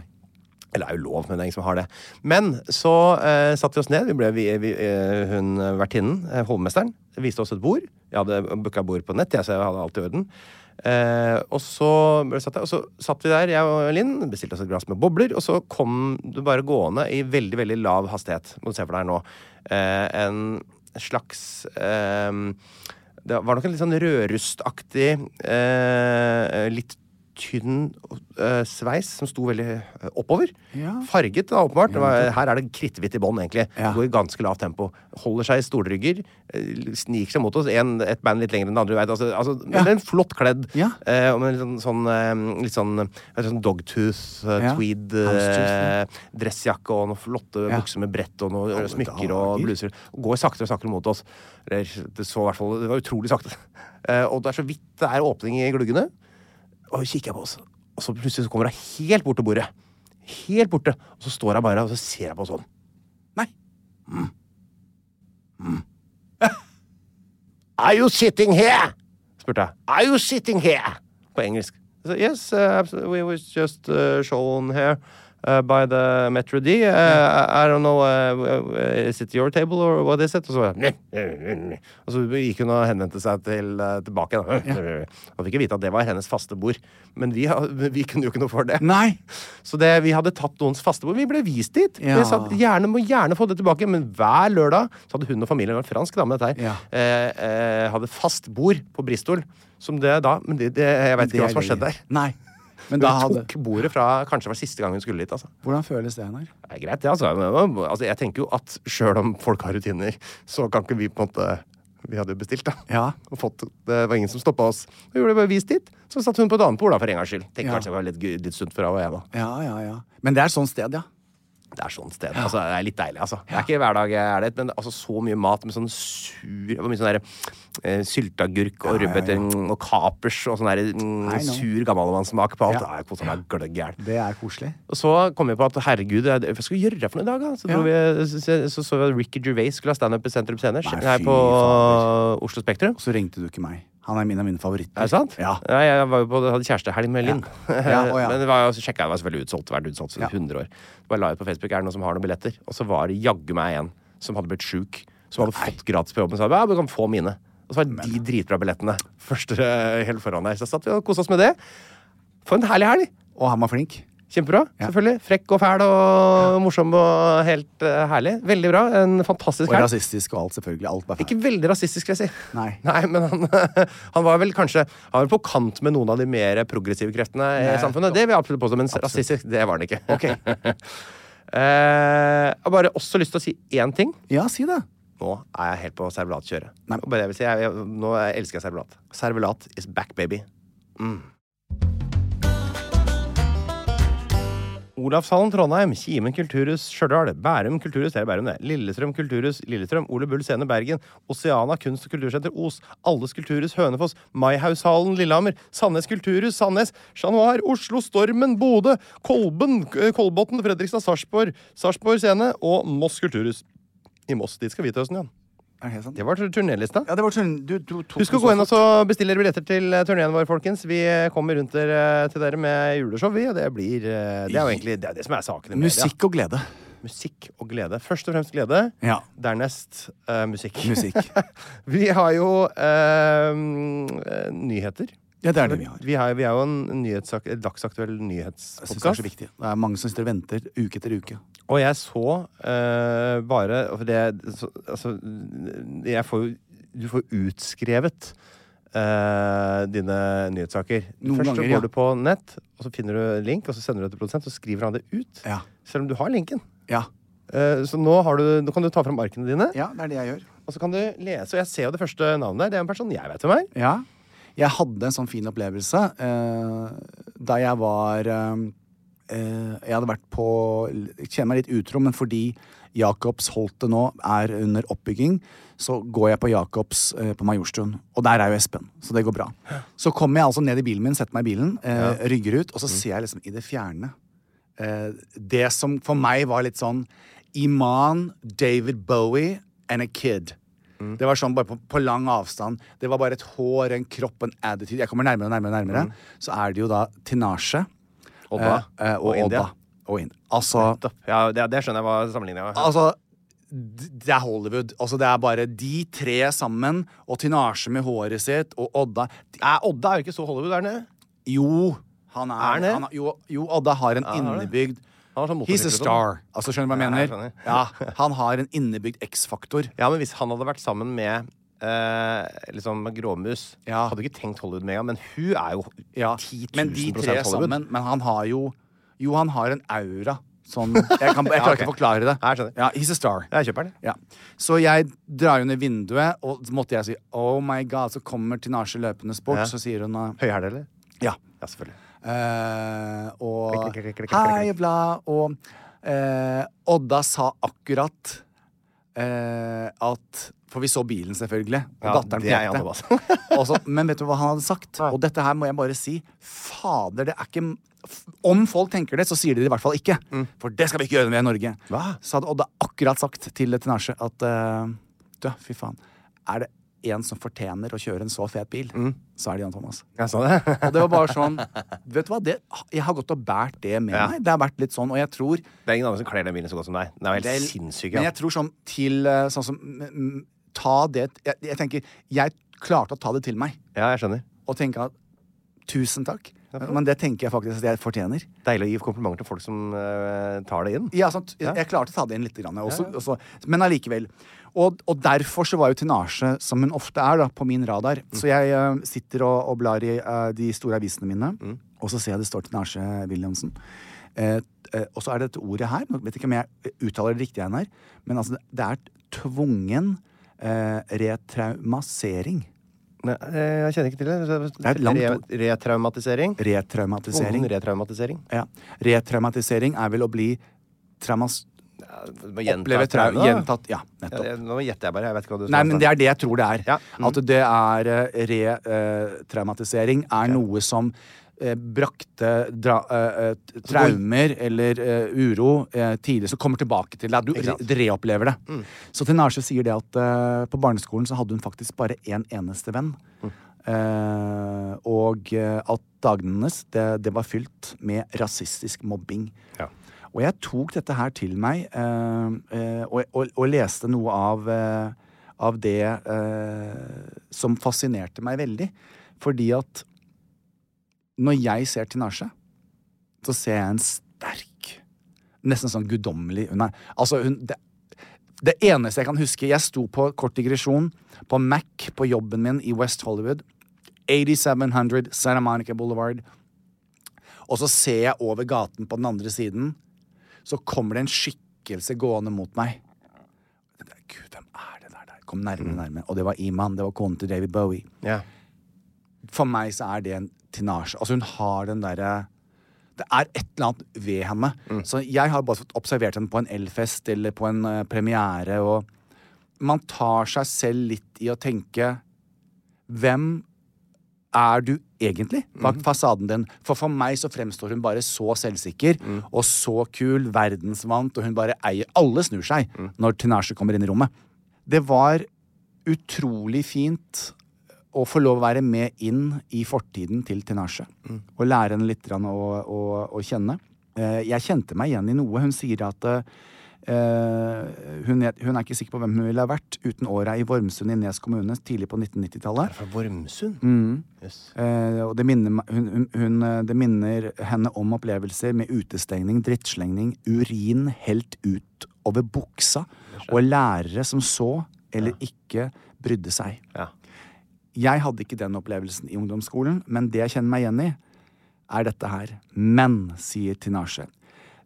S1: Eller det er jo lov, men det er ingen som har det. Men så eh, satte vi oss ned. Vi ble, vi, vi, eh, hun eh, vertinnen, eh, hovmesteren, viste oss et bord. Jeg hadde booka bord på nett, jeg, så jeg hadde alt i orden. Eh, og, så ble det satt, der, og så satt vi der, jeg og Linn, bestilte oss et glass med bobler. Og så kom du bare gående i veldig veldig lav hastighet, må du se for deg her nå. Eh, en slags eh, det var nok en litt sånn rødrustaktig, eh, litt tynn eh, sveis som sto veldig eh, oppover.
S2: Ja.
S1: Farget, da, åpenbart. Det var, her er det kritthvitt i bånn, egentlig.
S2: Ja.
S1: Går i ganske lavt tempo. Holder seg i stolrygger. eh, Sniker seg mot oss. En, et band litt lenger enn det andre. du vet, Altså, altså,
S2: Ja.
S1: men En flott kledd.
S2: Ja.
S1: Eh, og med en litt sånn, sånn, eh, litt sånn, eh, sånn dogtooth, eh,
S2: Ja.
S1: tweed,
S2: Houndstooth,
S1: eh,
S2: ja.
S1: dressjakke og noen flotte
S2: Ja.
S1: bukser med brett og noen
S2: Alle
S1: smykker
S2: dager.
S1: og bluser. Og går saktere og saktere mot oss. Eller, det så i hvert fall Det var utrolig sakte. [LAUGHS] Eh, og det er så vidt det er åpning i gluggene. Og så kikker jeg på oss, og så plutselig så kommer hun helt bort til bordet. Helt borte. Og så står hun bare og så ser hun på oss sånn.
S2: Nei.
S1: Are you sitting here? spurte jeg. Are you sitting here? På engelsk. Så, yes, uh, abso- we was just uh, shown here uh, by the Metro D. Uh, I, I don't know, uh, w- w- is it your table or what is it? Og så, var jeg, «Nei, nei, nei, nei». og så gikk hun og henvendte seg til, uh, tilbake. Da. [LAUGHS] Og fikk vite at det var hennes faste bord. Men vi, ha- vi kunne jo ikke noe for det.
S2: Nei!
S1: Så det, vi hadde tatt noens faste bord. Vi ble vist dit.
S2: Ja.
S1: Vi sa at gjerne, må gjerne få det tilbake, men hver lørdag så hadde hun og familien vært fransk dame, dette her.
S2: Ja.
S1: Eh, eh, hadde fast bord på Bristol. Som det da Men det, det, jeg veit ikke hva som har skjedd der.
S2: Nei. Men
S1: Hun
S2: da hadde
S1: tok bordet fra kanskje det var siste gang hun skulle dit. altså.
S2: Hvordan føles det, Einar?
S1: Det er greit, det, altså. Men, men, altså. Jeg tenker jo at sjøl om folk har rutiner, så kan ikke vi på en måte Vi hadde jo bestilt, da.
S2: Ja.
S1: Og fått, det var ingen som stoppa oss. Vi ble bare vist dit. Så satt hun på et annet bord, da, for en gangs skyld. Tenker
S2: Ja.
S1: kanskje det var litt, gu- litt sunt for henne og jeg, da.
S2: Ja, ja, ja. Men det er et sånt sted, ja.
S1: Det er sånn sted. Altså, det er litt deilig, altså. Det er ikke hver dag jeg er det, men altså, så mye mat med sånn sur det var Mye sånn der, eh, sylteagurk og rødbeter mm, og kapers og sånn der mm,
S2: I know.
S1: sur gammalmannssmak på alt.
S2: Ja.
S1: Ja. Jeg kosa meg gløgg gæren.
S2: Det er koselig.
S1: Og så kom vi på at herregud, jeg- hva skal vi gjøre for noe i dag, da? Så, dro vi, så, så så vi at Ricky Gervais skulle ha standup i Sentrum Scene
S2: Nei,
S1: her
S2: fy
S1: på
S2: fader.
S1: Oslo Spektrum.
S2: Og så ringte du ikke meg. Han er min av mine favoritter.
S1: Er det sant?
S2: Ja.
S1: Nei, jeg var jo på, hadde kjærestehelg med Linn.
S2: Ja, å ja.
S1: [LAUGHS] Men det var, jo- så sjekket jeg, det var selvfølgelig utsolgt. Vært utsolgt siden
S2: Ja.
S1: 100 år. Så bare la ut på Facebook, er det noen som har noen billetter? Og så var det jaggu meg en som hadde blitt sjuk, som hadde fått gratis på jobben. Så jeg, ja, du kan få mine. Og så var det de dritbra billettene først eh, helt foran der. Så satt vi og kosa oss med det. For en herlig helg!
S2: Og han var flink.
S1: Kjempebra. selvfølgelig. Frekk og fæl og morsom og helt eh, herlig. Veldig bra. En fantastisk
S2: Og
S1: helg.
S2: rasistisk og alt, selvfølgelig. Alt var feil.
S1: Ikke veldig rasistisk, vil jeg si.
S2: Nei.
S1: [LAUGHS] men han, han var vel kanskje Han var på kant med noen av de mer progressive kreftene i samfunnet. Det vil jeg absolutt påstå, men rasistisk, det var han ikke. [LAUGHS] Eh, jeg har bare også lyst til å si én ting.
S2: Ja, si det.
S1: Nå er jeg helt på servelatkjøret.
S2: Nei.
S1: Og Bare jeg vil si, jeg, jeg, nå elsker jeg servelat. Servelat is back, baby. Mm. Olavshallen Trondheim, Kimen kulturhus Stjørdal, Bærum kulturhus det er Bærum det, Lillestrøm kulturhus Lillestrøm, Ole Bull scene Bergen, Oceana kunst- og kultursenter Os, Alles kulturhus Hønefoss, Maihaugshallen Lillehammer, Sandnes kulturhus Sandnes, Chat Noir Oslo, Stormen Bodø, Kolben, eh, Kolbotn, Fredrikstad, Sarpsborg, Sarpsborg scene og Moss kulturhus. I Moss, dit skal vi til høsten, Jan.
S2: Er det helt sant?
S1: Det var turnélista.
S2: Ja, det var sånn du, du tok
S1: Husk å gå
S2: den så
S1: inn og
S2: fort.
S1: så bestille billetter til eh, turneen vår, folkens. Vi eh, kommer rundt dere, til dere med juleshow, vi. Og det blir eh, Det er jo egentlig det, er det som er saken i media.
S2: Musikk og glede.
S1: Musikk og glede. Først og fremst glede.
S2: Ja.
S1: Dernest [LAUGHS] eh, musikk.
S2: Musikk.
S1: vi har jo eh, eh, nyheter.
S2: Ja, det er det vi har.
S1: Vi, har, vi er jo en nyhetssak, en dagsaktuell
S2: Jeg synes det er så
S1: nyhetspodkast.
S2: viktig. Det er mange som sitter og venter uke etter uke.
S1: Og jeg så eh, bare for det, så, Altså, jeg får jo Du får utskrevet eh, dine nyhetssaker.
S2: Noen
S1: Først så
S2: ganger,
S1: går
S2: ja.
S1: du på nett, og så finner du en link, og så sender du det til produsent, og så skriver han det ut.
S2: Ja.
S1: Selv om du har linken.
S2: Ja.
S1: Eh, så nå, har du, nå kan du ta fram arkene dine,
S2: ja, det er det jeg gjør.
S1: og så kan du lese. Og jeg ser jo det første navnet der. Det er en person jeg vet hvem er.
S2: Ja. Jeg hadde en sånn fin opplevelse eh, da jeg var eh, eh, Jeg hadde vært på Jeg kjenner meg litt utro, men fordi Jacobsholtet nå er under oppbygging, så går jeg på Jacobs eh, på Majorstuen. Og der er jo Espen, så det går bra. Så kommer jeg altså ned i bilen min, setter meg i bilen, eh, rygger ut, og så ser jeg liksom i det fjerne eh, det som for meg var litt sånn Iman, David Bowie and a kid.
S1: Mm.
S2: Det var sånn bare på, på lang avstand. Det var bare et hår, en kropp, en attitude. Jeg kommer nærmere og nærmere. og nærmere Så er det jo da Tinashe
S1: Odda.
S2: eh, eh,
S1: Mm.
S2: og,
S1: Og India.
S2: Odda. Og Ind. Altså,
S1: Ja, det, det skjønner jeg hva sammenligninga er.
S2: altså d- Det er Hollywood. Altså, det er bare de tre sammen, og Tinashe med håret sitt, og Odda
S1: Er Odda er jo ikke så Hollywood, er han det?
S2: Jo, han er,
S1: Er han det?
S2: han er- jo, jo, Odda har en
S1: han har det.
S2: innebygd
S1: Han har sånn
S2: He's
S1: motorsykkel
S2: a
S1: og sånn.
S2: star. Altså, skjønner du hva jeg
S1: Ja, jeg
S2: mener? Ja, han har en innebygd X-faktor.
S1: Ja, men hvis han hadde vært sammen med eh, liksom Gråmus
S2: Ja.
S1: Hadde ikke tenkt Hollywood med en gang, men hun er jo
S2: Ja,
S1: 10 000
S2: men de tre
S1: Hollywood.
S2: sammen Men han har jo Jo, han har en aura.
S1: [LAUGHS]
S2: Sånn Jeg, kan, jeg klarer
S1: Ja, ok.
S2: ikke å forklare det.
S1: Ja, jeg skjønner.
S2: Ja, he's a star.
S1: Jeg kjøper den.
S2: Ja. Så jeg drar jo ned vinduet, og så måtte jeg si oh my god. Så kommer Tinashe løpende bort,
S1: Ja.
S2: så sier hun eh,
S1: Høyhæl, eller?
S2: ja.
S1: Ja, selvfølgelig.
S2: Eh, og
S1: Klikk, klikk, klikk, klikk, klikk,
S2: Hei, bla. Og eh, Odda sa akkurat eh, at For vi så bilen, selvfølgelig. Og
S1: Ja,
S2: datteren
S1: det er Jan
S2: pekte.
S1: Thomas. [LAUGHS]
S2: [LAUGHS] Og så- men vet du hva han hadde sagt? Og dette her må jeg bare si. Fader, det er ikke f- Om folk tenker det, så sier de det i hvert fall ikke. For det skal vi ikke gjøre når vi er i Norge.
S1: Mm. Hva?
S2: Så hadde Odda akkurat sagt til Tinashe at eh, Du, fy faen. Er det en som fortjener å kjøre en så fet bil,
S1: Mm.
S2: så er det Jan Thomas.
S1: Jeg sa
S2: [LAUGHS]
S1: det.
S2: Og det var bare sånn Vet du hva, det, jeg har gått og båret det med
S1: Ja.
S2: meg. Det har vært litt sånn, og jeg tror
S1: Det er ingen andre som kler den bilen så godt som deg. Den er jo helt
S2: Vel,
S1: sinnssyk.
S2: Men
S1: Ja.
S2: jeg tror sånn til eh, Sånn som mm, mm, Ta det jeg, jeg tenker Jeg klarte å ta det til meg
S1: ja, jeg skjønner.
S2: og tenke at tusen takk. Men det tenker jeg faktisk at jeg fortjener.
S1: Deilig å gi komplimenter til folk som eh, tar det inn.
S2: Ja, sant, jeg, jeg klarte å ta det inn litt, grann, jeg også, også, men allikevel. Og, og derfor så var jo Tinasje, som hun ofte er, da, på min radar.
S1: Mm.
S2: Så jeg eh, sitter og, og blar i eh, de store avisene mine,
S1: Mm.
S2: og så ser jeg det står Tinasje Williamsen. Eh, eh, og så er det dette ordet her, nå vet ikke om jeg uttaler det riktig, Einar, men altså, det er tvungen eh, retraumasering.
S1: Nei, eh, jeg kjenner ikke til det.
S2: er et langt
S1: Re
S2: ord.
S1: retraumatisering.
S2: Retraumatisering.
S1: Tvungen retraumatisering.
S2: Ja. Retraumatisering er vel å bli traumas... Oppleve trau...
S1: Gjentatt.
S2: Gjentatt. Ja, nettopp.
S1: Nå gjetter jeg bare. Jeg vet ikke hva du
S2: Nei, men det er det jeg tror det er.
S1: Ja. Mm.
S2: At det er eh, retraumatisering er noe som eh, brakte dra, eh, eh, t- traumer eller eh, uro eh, tidligere, som kommer tilbake til deg. Du re reopplever det. Så Tinashe sier det at eh, på barneskolen så hadde hun faktisk bare én eneste venn. Eh, og eh, at dagene hennes, det, det var fylt med rasistisk mobbing. Og jeg tok dette her til meg eh, eh, og, og, og leste noe av, eh, av det eh, som fascinerte meg veldig. Fordi at når jeg ser Tinashe, så ser jeg en sterk Nesten sånn guddommelig Hun er Altså, hun det, det eneste jeg kan huske Jeg sto på kort digresjon på Mac på jobben min i West Hollywood. 8700 Santa Monica Boulevard. Og så ser jeg over gaten på den andre siden, så kommer det en skikkelse gående mot meg. Jeg tenkte, Gud, hvem er det der? der? Kom nærmere, nærmere. Og det var Iman. Det var konen til David Bowie.
S1: Ja.
S2: For meg så er det en tinasje. Altså, hun har den derre det er et eller annet ved henne. Så jeg har bare fått observert henne på en Elfest eller på en eh, premiere, og man tar seg selv litt i å tenke Hvem er du egentlig bak fasaden din? For for meg så fremstår hun bare så selvsikker og så kul, verdensvant, og hun bare eier Alle snur seg når Tinashe kommer inn i rommet. Det var utrolig fint å få lov å være med inn i fortiden til Tinashe. Og lære henne litt grann å, å, å kjenne. Eh, Jeg kjente meg igjen i noe. Hun sier at eh, Eh, hun, het- hun er ikke sikker på hvem hun ville ha vært uten åra i Vormsund i Nes kommune tidlig på 1990-tallet.
S1: Fra Vormsund?
S2: Mm.
S1: Yes.
S2: Eh, og det minner, meg- hun, hun, hun, eh, det minner henne om opplevelser med utestengning, drittslengning, urin helt ut over buksa, og lærere som så eller ikke brydde seg.
S1: Ja.
S2: Jeg hadde ikke den opplevelsen i ungdomsskolen, men det jeg kjenner meg igjen i, er dette her. Men, sier Tinashe,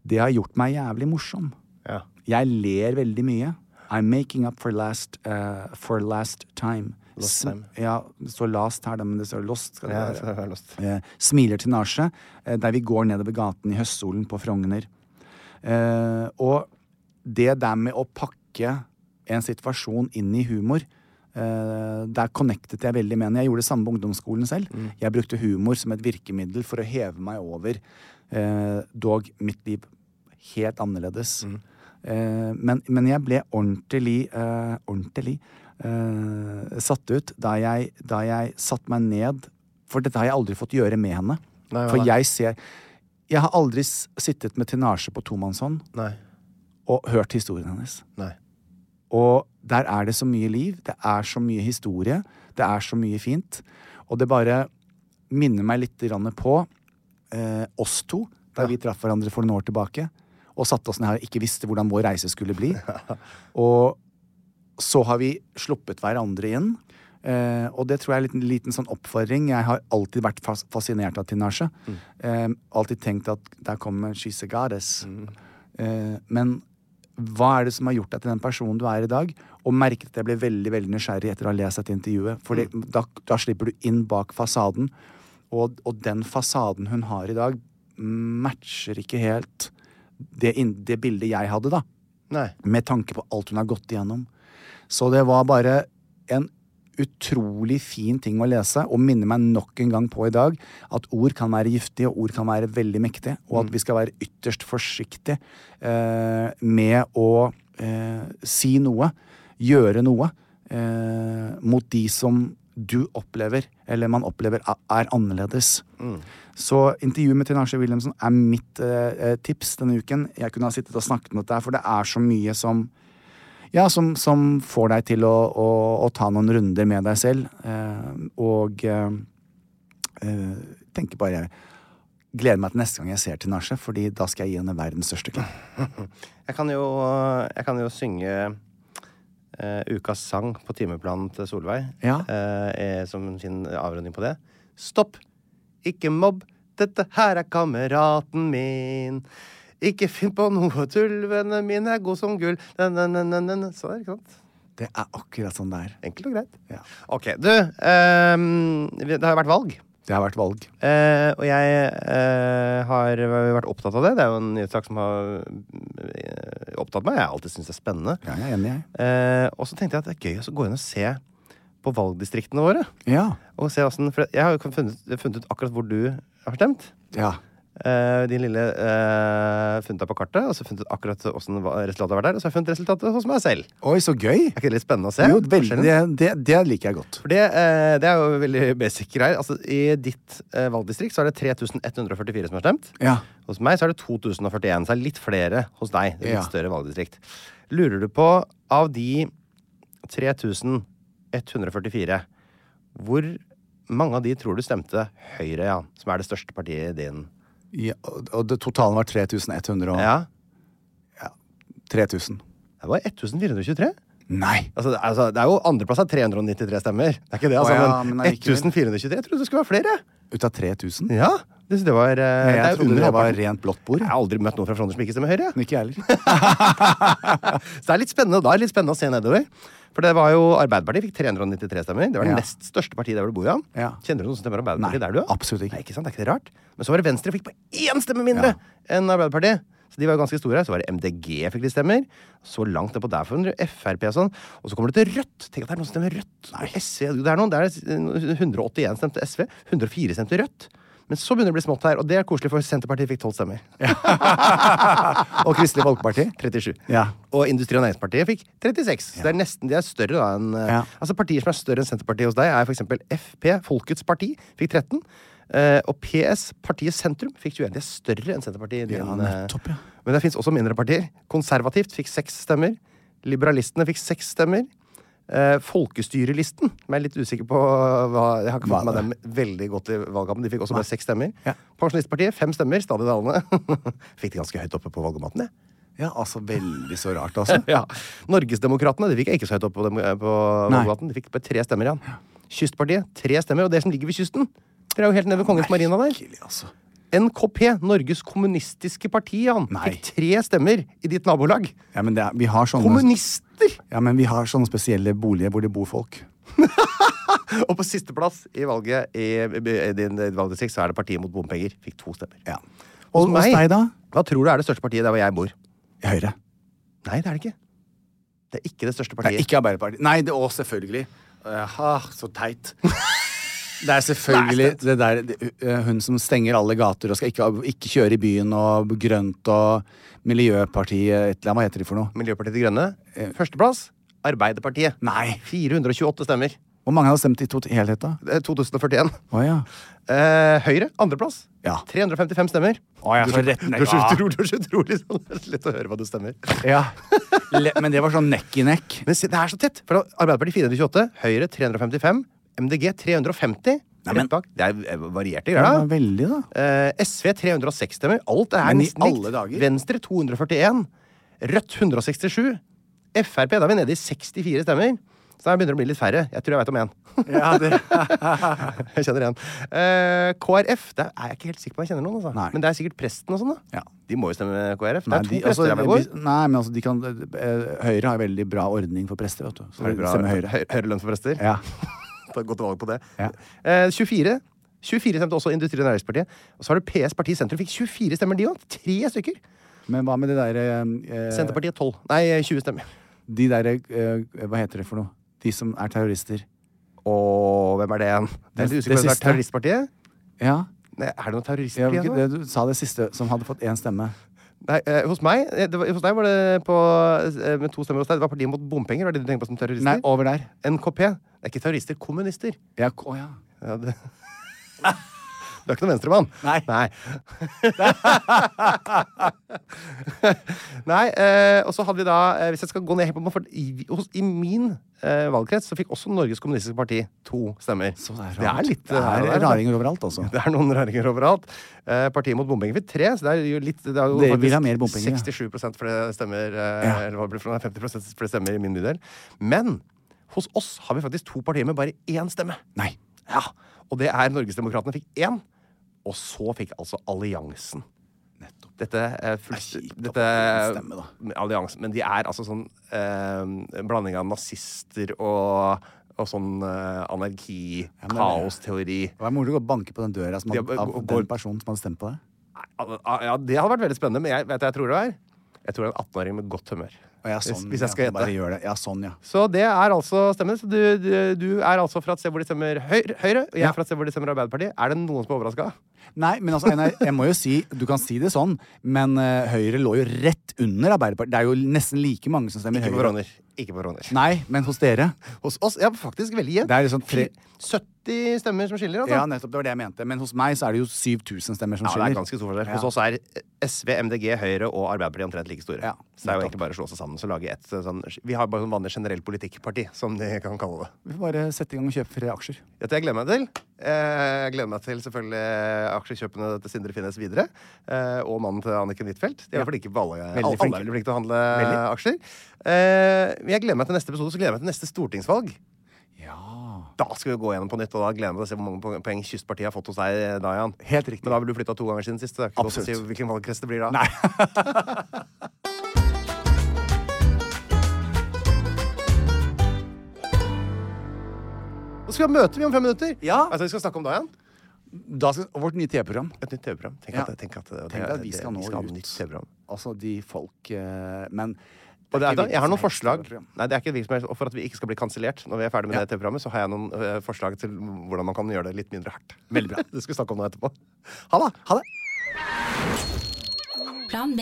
S2: det har gjort meg jævlig morsom.
S1: Ja.
S2: Jeg ler veldig mye. I'm making up for last, eh, for last time.
S1: Lost
S2: Sm-
S1: time.
S2: Ja, det står last her, da, men det står lost. Skal det
S1: Ja,
S2: være.
S1: så har jeg lyst.
S2: Eh, smiler til Nasje eh, der vi går nedover gaten i høstsolen på Frogner. Eh, og det der med å pakke en situasjon inn i humor eh, Der connectet jeg veldig med henne. Jeg gjorde det samme på ungdomsskolen selv.
S1: Mm.
S2: Jeg brukte humor som et virkemiddel for å heve meg over eh, dog mitt liv helt annerledes.
S1: Mm.
S2: Eh, men, men jeg ble ordentlig, eh, ordentlig eh, satt ut da jeg, da jeg satte meg ned For dette har jeg aldri fått gjøre med henne.
S1: Nei,
S2: For
S1: nei.
S2: jeg ser Jeg har aldri s- sittet med tenasje på tomannshånd
S1: Nei.
S2: og hørt historien hennes.
S1: Nei.
S2: Og der er det så mye liv, det er så mye historie, det er så mye fint. Og det bare minner meg litt grann på eh, oss to, da vi traff hverandre for noen år tilbake. Og satte oss ned her og ikke visste hvordan vår reise skulle bli. Og så har vi sluppet hverandre inn. Eh, og det tror jeg er en liten, liten sånn oppfordring. Jeg har alltid vært fas fascinert av Tinashe. Eh, alltid tenkt at der kommer she's a goddess. Eh, men hva er det som har gjort deg til den personen du er i dag? Og merket at jeg ble veldig veldig nysgjerrig etter å ha lest dette intervjuet. For det- da, da slipper du inn bak fasaden. Og, og den fasaden hun har i dag, matcher ikke helt det, inn- det bildet jeg hadde, da
S1: Nei.
S2: med tanke på alt hun har gått igjennom. Så det var bare en utrolig fin ting å lese, og minner meg nok en gang på i dag at ord kan være giftige, og ord kan være veldig mektige, og at vi skal være ytterst forsiktige eh, med å eh, si noe, gjøre noe, eh, mot de som du opplever, eller man opplever er- er annerledes. Så intervjuet med Tinashe Wilhelmsen er mitt eh, eh, tips denne uken. Jeg kunne ha sittet og snakket om dette, her, for det er så mye som ja, som, som får deg til å, å, å ta noen runder med deg selv. eh, og eh, eh, tenker bare Gleder meg til neste gang jeg ser Tinashe, fordi da skal jeg gi henne verdens største klem.
S1: Jeg kan jo, jeg kan jo synge eh, ukas sang på timeplanen til Solveig.
S2: Ja.
S1: eh, eh, som sin avrunding på det. Stopp! Ikke mobb! Dette her er kameraten min! Ikke finn på noe tull, vennen min er god som gull Na, na, na, na, na, na. Sånn, ikke sant?
S2: Det er akkurat sånn det er.
S1: Enkelt og greit.
S2: Ja.
S1: Ok, du. eh, det har vært valg.
S2: Det har vært valg.
S1: Eh, og jeg eh, har vært opptatt av det. Det er jo en nyhetssak som har eh, opptatt meg. Jeg har alltid syntes det er spennende.
S2: Ja, jeg er enig, jeg.
S1: Eh, og så tenkte jeg at det er gøy å gå inn og se på valgdistriktene våre.
S2: Ja.
S1: Og se hvordan, for jeg har jo funnet, funnet ut akkurat hvor du har stemt.
S2: ja.
S1: Eh, din lille eh, funnet deg på kartet, og så funnet ut akkurat hvordan va- resultatet har vært der. Og så har jeg funnet resultatet hos meg selv.
S2: Oi, så gøy!
S1: Er ikke det litt spennende å se?
S2: Jo, veldig,
S1: Forskjellen?
S2: det, det, det liker jeg godt.
S1: For det, eh, det er jo veldig basic greier. Altså, I ditt eh, valgdistrikt så er det 3144 som har stemt.
S2: Ja.
S1: Hos meg så er det 2041. Så er det litt flere hos deg. Det er litt
S2: Ja.
S1: større valgdistrikt. Lurer du på, av de 3144, hvor mange av de tror du stemte Høyre, ja? Som er det største partiet i din
S2: Ja, og og det totalen var 3100 og
S1: Ja.
S2: 3000.
S1: Det var 1423.
S2: Nei!
S1: Altså, det- altså, det er jo andreplass av 393 stemmer. Det er ikke det, altså.
S2: Å ja,
S1: men
S2: men allikevel.
S1: 1423. Jeg trodde det skulle være flere.
S2: Ut av 3000?
S1: Ja. Det, det var, eh,
S2: Jeg
S1: det er jo
S2: trodde
S1: under
S2: det var
S1: halvparten.
S2: rent blått bord.
S1: Jeg har aldri møtt noen fra Frogner som ikke stemmer Høyre. jeg.
S2: Men ikke jeg
S1: [LAUGHS]
S2: heller.
S1: Så det er litt spennende, da er det litt spennende å se nedover. For det var jo Arbeiderpartiet fikk 393 stemmer. Det var det
S2: Ja.
S1: nest største partiet der hvor du bor. Ja.
S2: Ja.
S1: Kjenner du noen som stemmer
S2: Nei,
S1: Arbeiderpartiet der du er?
S2: absolutt ikke.
S1: Nei, ikke sant? Det er ikke det rart. Men så var det Venstre fikk på én stemme mindre enn Arbeiderpartiet. Så de var jo ganske store. Så var det MDG fikk litt stemmer. Så langt nedpå der for Frp og sånn. Og så kommer du til Rødt. Tenk at det er noen som stemmer Rødt. Og SV. Jo, Det er noen. Det er 181 stemte SV. 104 stemte Rødt. Men så begynner det å bli smått her, og det er koselig, for Senterpartiet fikk tolv stemmer.
S2: Og Kristelig Folkeparti?
S1: 37.
S2: Ja.
S1: Og Industri- og Næringspartiet fikk 36. Så det er nesten de er større da enn eh,
S2: Ja.
S1: Altså Partier som er større enn Senterpartiet hos deg, er f.eks. FP, Folkets parti, fikk 13. Eh, og PS, partiet Sentrum, fikk 21. Det er større enn Senterpartiet. i
S2: Ja,
S1: din, eh,
S2: nettopp, ja.
S1: Men det fins også mindre partier. Konservativt fikk seks stemmer. Liberalistene fikk seks stemmer. Eh, Folkestyrelisten Jeg er litt usikker på hva Jeg har ikke
S2: Hva
S1: fått med
S2: er
S1: meg dem veldig godt i valgkampen. De fikk også bare seks stemmer.
S2: Ja.
S1: Pensjonistpartiet fem stemmer, stadig dalende. [LAUGHS] fikk de ganske høyt oppe på
S2: [LAUGHS]
S1: valgomaten, jeg.
S2: Ja, altså, veldig så rart, altså.
S1: Ja. Norgesdemokratene de fikk jeg ikke så høyt opp på, dem, eh, på
S2: Nei.
S1: valgomaten. De fikk bare tre stemmer igjen. Kystpartiet tre stemmer. Og dere som ligger ved kysten, dere er jo helt nede ved Kongens Marina der.
S2: Virkelig, altså.
S1: NKP, Norges kommunistiske parti, han,
S2: Nei.
S1: fikk tre stemmer i ditt nabolag.
S2: Ja, men det er, vi har sånne,
S1: Kommunister!
S2: ja, men vi har sånne spesielle boliger hvor det bor folk.
S1: Og på sisteplass i valget i, i din valgdistrikt så er det Partiet mot bompenger. Fikk to stemmer.
S2: Ja.
S1: Hos
S2: Og hos
S1: meg-
S2: deg, da?
S1: Hva tror du er det største partiet der hvor jeg bor?
S2: Høyre.
S1: Nei, det er det ikke. Det er ikke det største
S2: Nei,
S1: partiet.
S2: ikke Arbeiderpartiet. Nei, det òg, selvfølgelig. Aha, så [LAUGHS] teit. Det er selvfølgelig det der det, eh, Hun som stenger alle gater og skal ikke, ikke kjøre i byen og grønt og Miljøpartiet et eller annet, Hva heter de for noe?
S1: Miljøpartiet De Grønne.
S2: Eh.
S1: Førsteplass Arbeiderpartiet.
S2: Nei!
S1: 428 stemmer.
S2: Hvor mange har stemt i tot- helhet, da?
S1: Det er 2041.
S2: Å ja.
S1: Eh, Høyre, andreplass.
S2: Ja.
S1: 355 stemmer.
S2: Å, jeg
S1: du,
S2: får
S1: er så-
S2: rett
S1: du
S2: ned-
S1: er så
S2: Ja.
S1: utrolig, du er så utrolig sånn. Det er så lett å høre hva du stemmer.
S2: ja. Le, men det var sånn nekk i nekk.
S1: Men se, det er så tett! For Arbeiderpartiet 428, Høyre 355, MDG 350.
S2: Nei, men-
S1: rett bak. Det er eh, varierte
S2: Ja,
S1: greier, da.
S2: veldig, da.
S1: Eh, SV 306 stemmer. Alt er
S2: Men i
S1: nesten likt.
S2: alle dager?
S1: Venstre 241. Rødt 167. Frp, da er vi nede i 64 stemmer. Så der begynner det å bli litt færre. Jeg tror jeg veit om én.
S2: Ja, det.
S1: [LAUGHS] jeg kjenner én. Eh, KrF der er jeg ikke helt sikker på om jeg kjenner noen. Altså.
S2: Nei.
S1: Men det er sikkert presten og sånn, da.
S2: Ja.
S1: De må jo stemme KrF. det
S2: Nei,
S1: er to
S2: de, altså,
S1: prester her med går.
S2: vi- nei, men altså, de kan, eh, Høyre har veldig bra ordning for prester, vet du. Så
S1: Er det bra-
S2: stemmer Høyre.
S1: høy- høyere lønn for prester?
S2: Ja.
S1: Ta et godt valg på det.
S2: Ja.
S1: Eh, 24. 24 stemte også Industri- og Næringspartiet. Og så har du PS Parti Sentrum. Fikk 24 stemmer, de òg. Tre stykker.
S2: Men hva med de derre eh,
S1: Senterpartiet 12. Nei, 20 stemmer.
S2: De derre eh, Hva heter det for noe? De som er terrorister.
S1: Og hvem er det igjen? Det er litt
S2: Det-
S1: usikker på
S2: det
S1: om det er
S2: siste.
S1: Terroristpartiet?
S2: Ja.
S1: Nei, er det noe
S2: Jeg,
S1: terroristparti
S2: vet
S1: igjen? nå?
S2: ikke, det, du sa det siste, som hadde fått én stemme.
S1: Nei, eh, hos meg eh, det var, Hos deg var det på, eh, med to stemmer hos deg. Det var partiet mot bompenger. Var det det du tenkte på som terrorister?
S2: Nei, over der.
S1: NKP. Det er ikke terrorister, kommunister.
S2: Ja, k- å, ja.
S1: Ja, det... [LAUGHS] Du er ikke noen venstremann?
S2: Nei.
S1: [LAUGHS] Nei, eh, og så hadde vi da eh, Hvis jeg skal gå ned helt på meg, for i, hos, i min eh, valgkrets så fikk også Norges Kommunistiske Parti to stemmer.
S2: Så det, er
S1: Det er
S2: rart.
S1: litt
S2: det
S1: her og der,
S2: er
S1: da.
S2: raringer overalt, altså.
S1: Det er noen raringer overalt. Eh, partiet mot bompenger fikk tre, så det er jo litt Det er jo
S2: Det vil
S1: faktisk
S2: ha mer bompenger, ja.
S1: 67 flere stemmer, eh, eller hva blir det for noe, 50 flere stemmer i min bydel. Men hos oss har vi faktisk to partier med bare én stemme.
S2: Nei.
S1: Ja, Og det er Norgesdemokratene fikk én, og så fikk altså Alliansen.
S2: Nettopp.
S1: Dette er
S2: Det er
S1: fullt
S2: kjipt å
S1: Dette eh,
S2: få en stemme, da.
S1: Alliansen. Men de er altså sånn eh, en blanding av nazister og, og sånn eh, anarki,
S2: men det-
S1: kaosteori
S2: Det var moro å banke på den døra som
S1: Ja,
S2: hadde,
S1: men
S2: av
S1: gå-
S2: den personen som hadde stemt på deg.
S1: Al- al- Ja, det hadde vært veldig spennende, men jeg vet hva jeg tror det er. Jeg tror det er en 18-åring med godt humør.
S2: Og ja,
S1: Hvis-
S2: sånn,
S1: hvis jeg skal
S2: ja,
S1: gjette.
S2: bare gjør det. Ja, sånn, ja.
S1: Så det er altså stemmen. Så du, du, du er altså fra et sted hvor de stemmer Høyre, Høyre og jeg er fra et sted hvor de stemmer Arbeiderpartiet. Er det noen som er overraska?
S2: Nei, men altså, Einar, jeg må jo si, du kan si det sånn, men eh, Høyre lå jo rett under Arbeiderpartiet. Det er jo nesten like mange som stemmer
S1: Ikke på
S2: Høyre.
S1: Frogner. Ikke på Frogner.
S2: Nei, men hos dere.
S1: Hos oss ja, faktisk veldig jevnt.
S2: Det er liksom tre-
S1: Fi- 70 stemmer som skiller, altså.
S2: Ja, nettopp, det var det jeg mente. Men hos meg så er det jo 7000 stemmer som
S1: Ja, det
S2: skiller.
S1: er ganske stor forskjell.
S2: Ja.
S1: Hos oss er eh, SV, MDG, Høyre og Arbeiderpartiet omtrent like store.
S2: Ja,
S1: så det er jo
S2: nettopp.
S1: egentlig bare å slå seg sammen og lage ett eh, sånn Vi har bare sånn vanlig generell politikkparti, som de kan kalle det.
S2: Vi får bare sette i gang og kjøpe flere aksjer.
S1: Dette jeg gleder meg til. Eh, Jeg gleder meg til selvfølgelig eh, aksjekjøpene til Sindre Finnes videre. eh, Og mannen til Anniken Huitfeldt. De er flinke på alle.
S2: Veldig
S1: alle, alle
S2: flinke.
S1: er veldig flinke til å handle eh, aksjer. Eh, Men jeg gleder meg til neste episode, så gleder jeg meg til neste stortingsvalg. Da skal vi gå gjennom på nytt, og da gleder jeg meg til å se hvor mange po- poeng Kystpartiet har fått hos deg, eh, Dayan.
S2: Helt riktig.
S1: Men da har vel du flytta to ganger siden sist. så Det er ikke lov til å si
S2: Absolutt.
S1: hvilken valgkrets det blir da. [LAUGHS] Nå skal vi ha møte vi om fem minutter.
S2: Ja.
S1: Altså, vi skal snakke om Dayan.
S2: Da skal, og vårt nye TV-program.
S1: Et nytt TV-program. Tenk,
S2: Ja.
S1: at- tenk, at-
S2: Tenk at vi skal nå
S1: ha et
S2: ut.
S1: nytt TV-program.
S2: Altså de folk eh, Men
S1: Og det er, da- jeg har noen
S2: hvilket som
S1: forslag
S2: helst TV-program.
S1: Nei, det er ikke hvilket som helst, og For at vi ikke skal bli kansellert når vi er ferdig med det TV-programmet, så har jeg noen øh, forslag til hvordan man kan gjøre det litt mindre hardt. Veldig bra. [LAUGHS] Det skal vi snakke om nå etterpå. Ha det! Ha det.
S6: Plan B.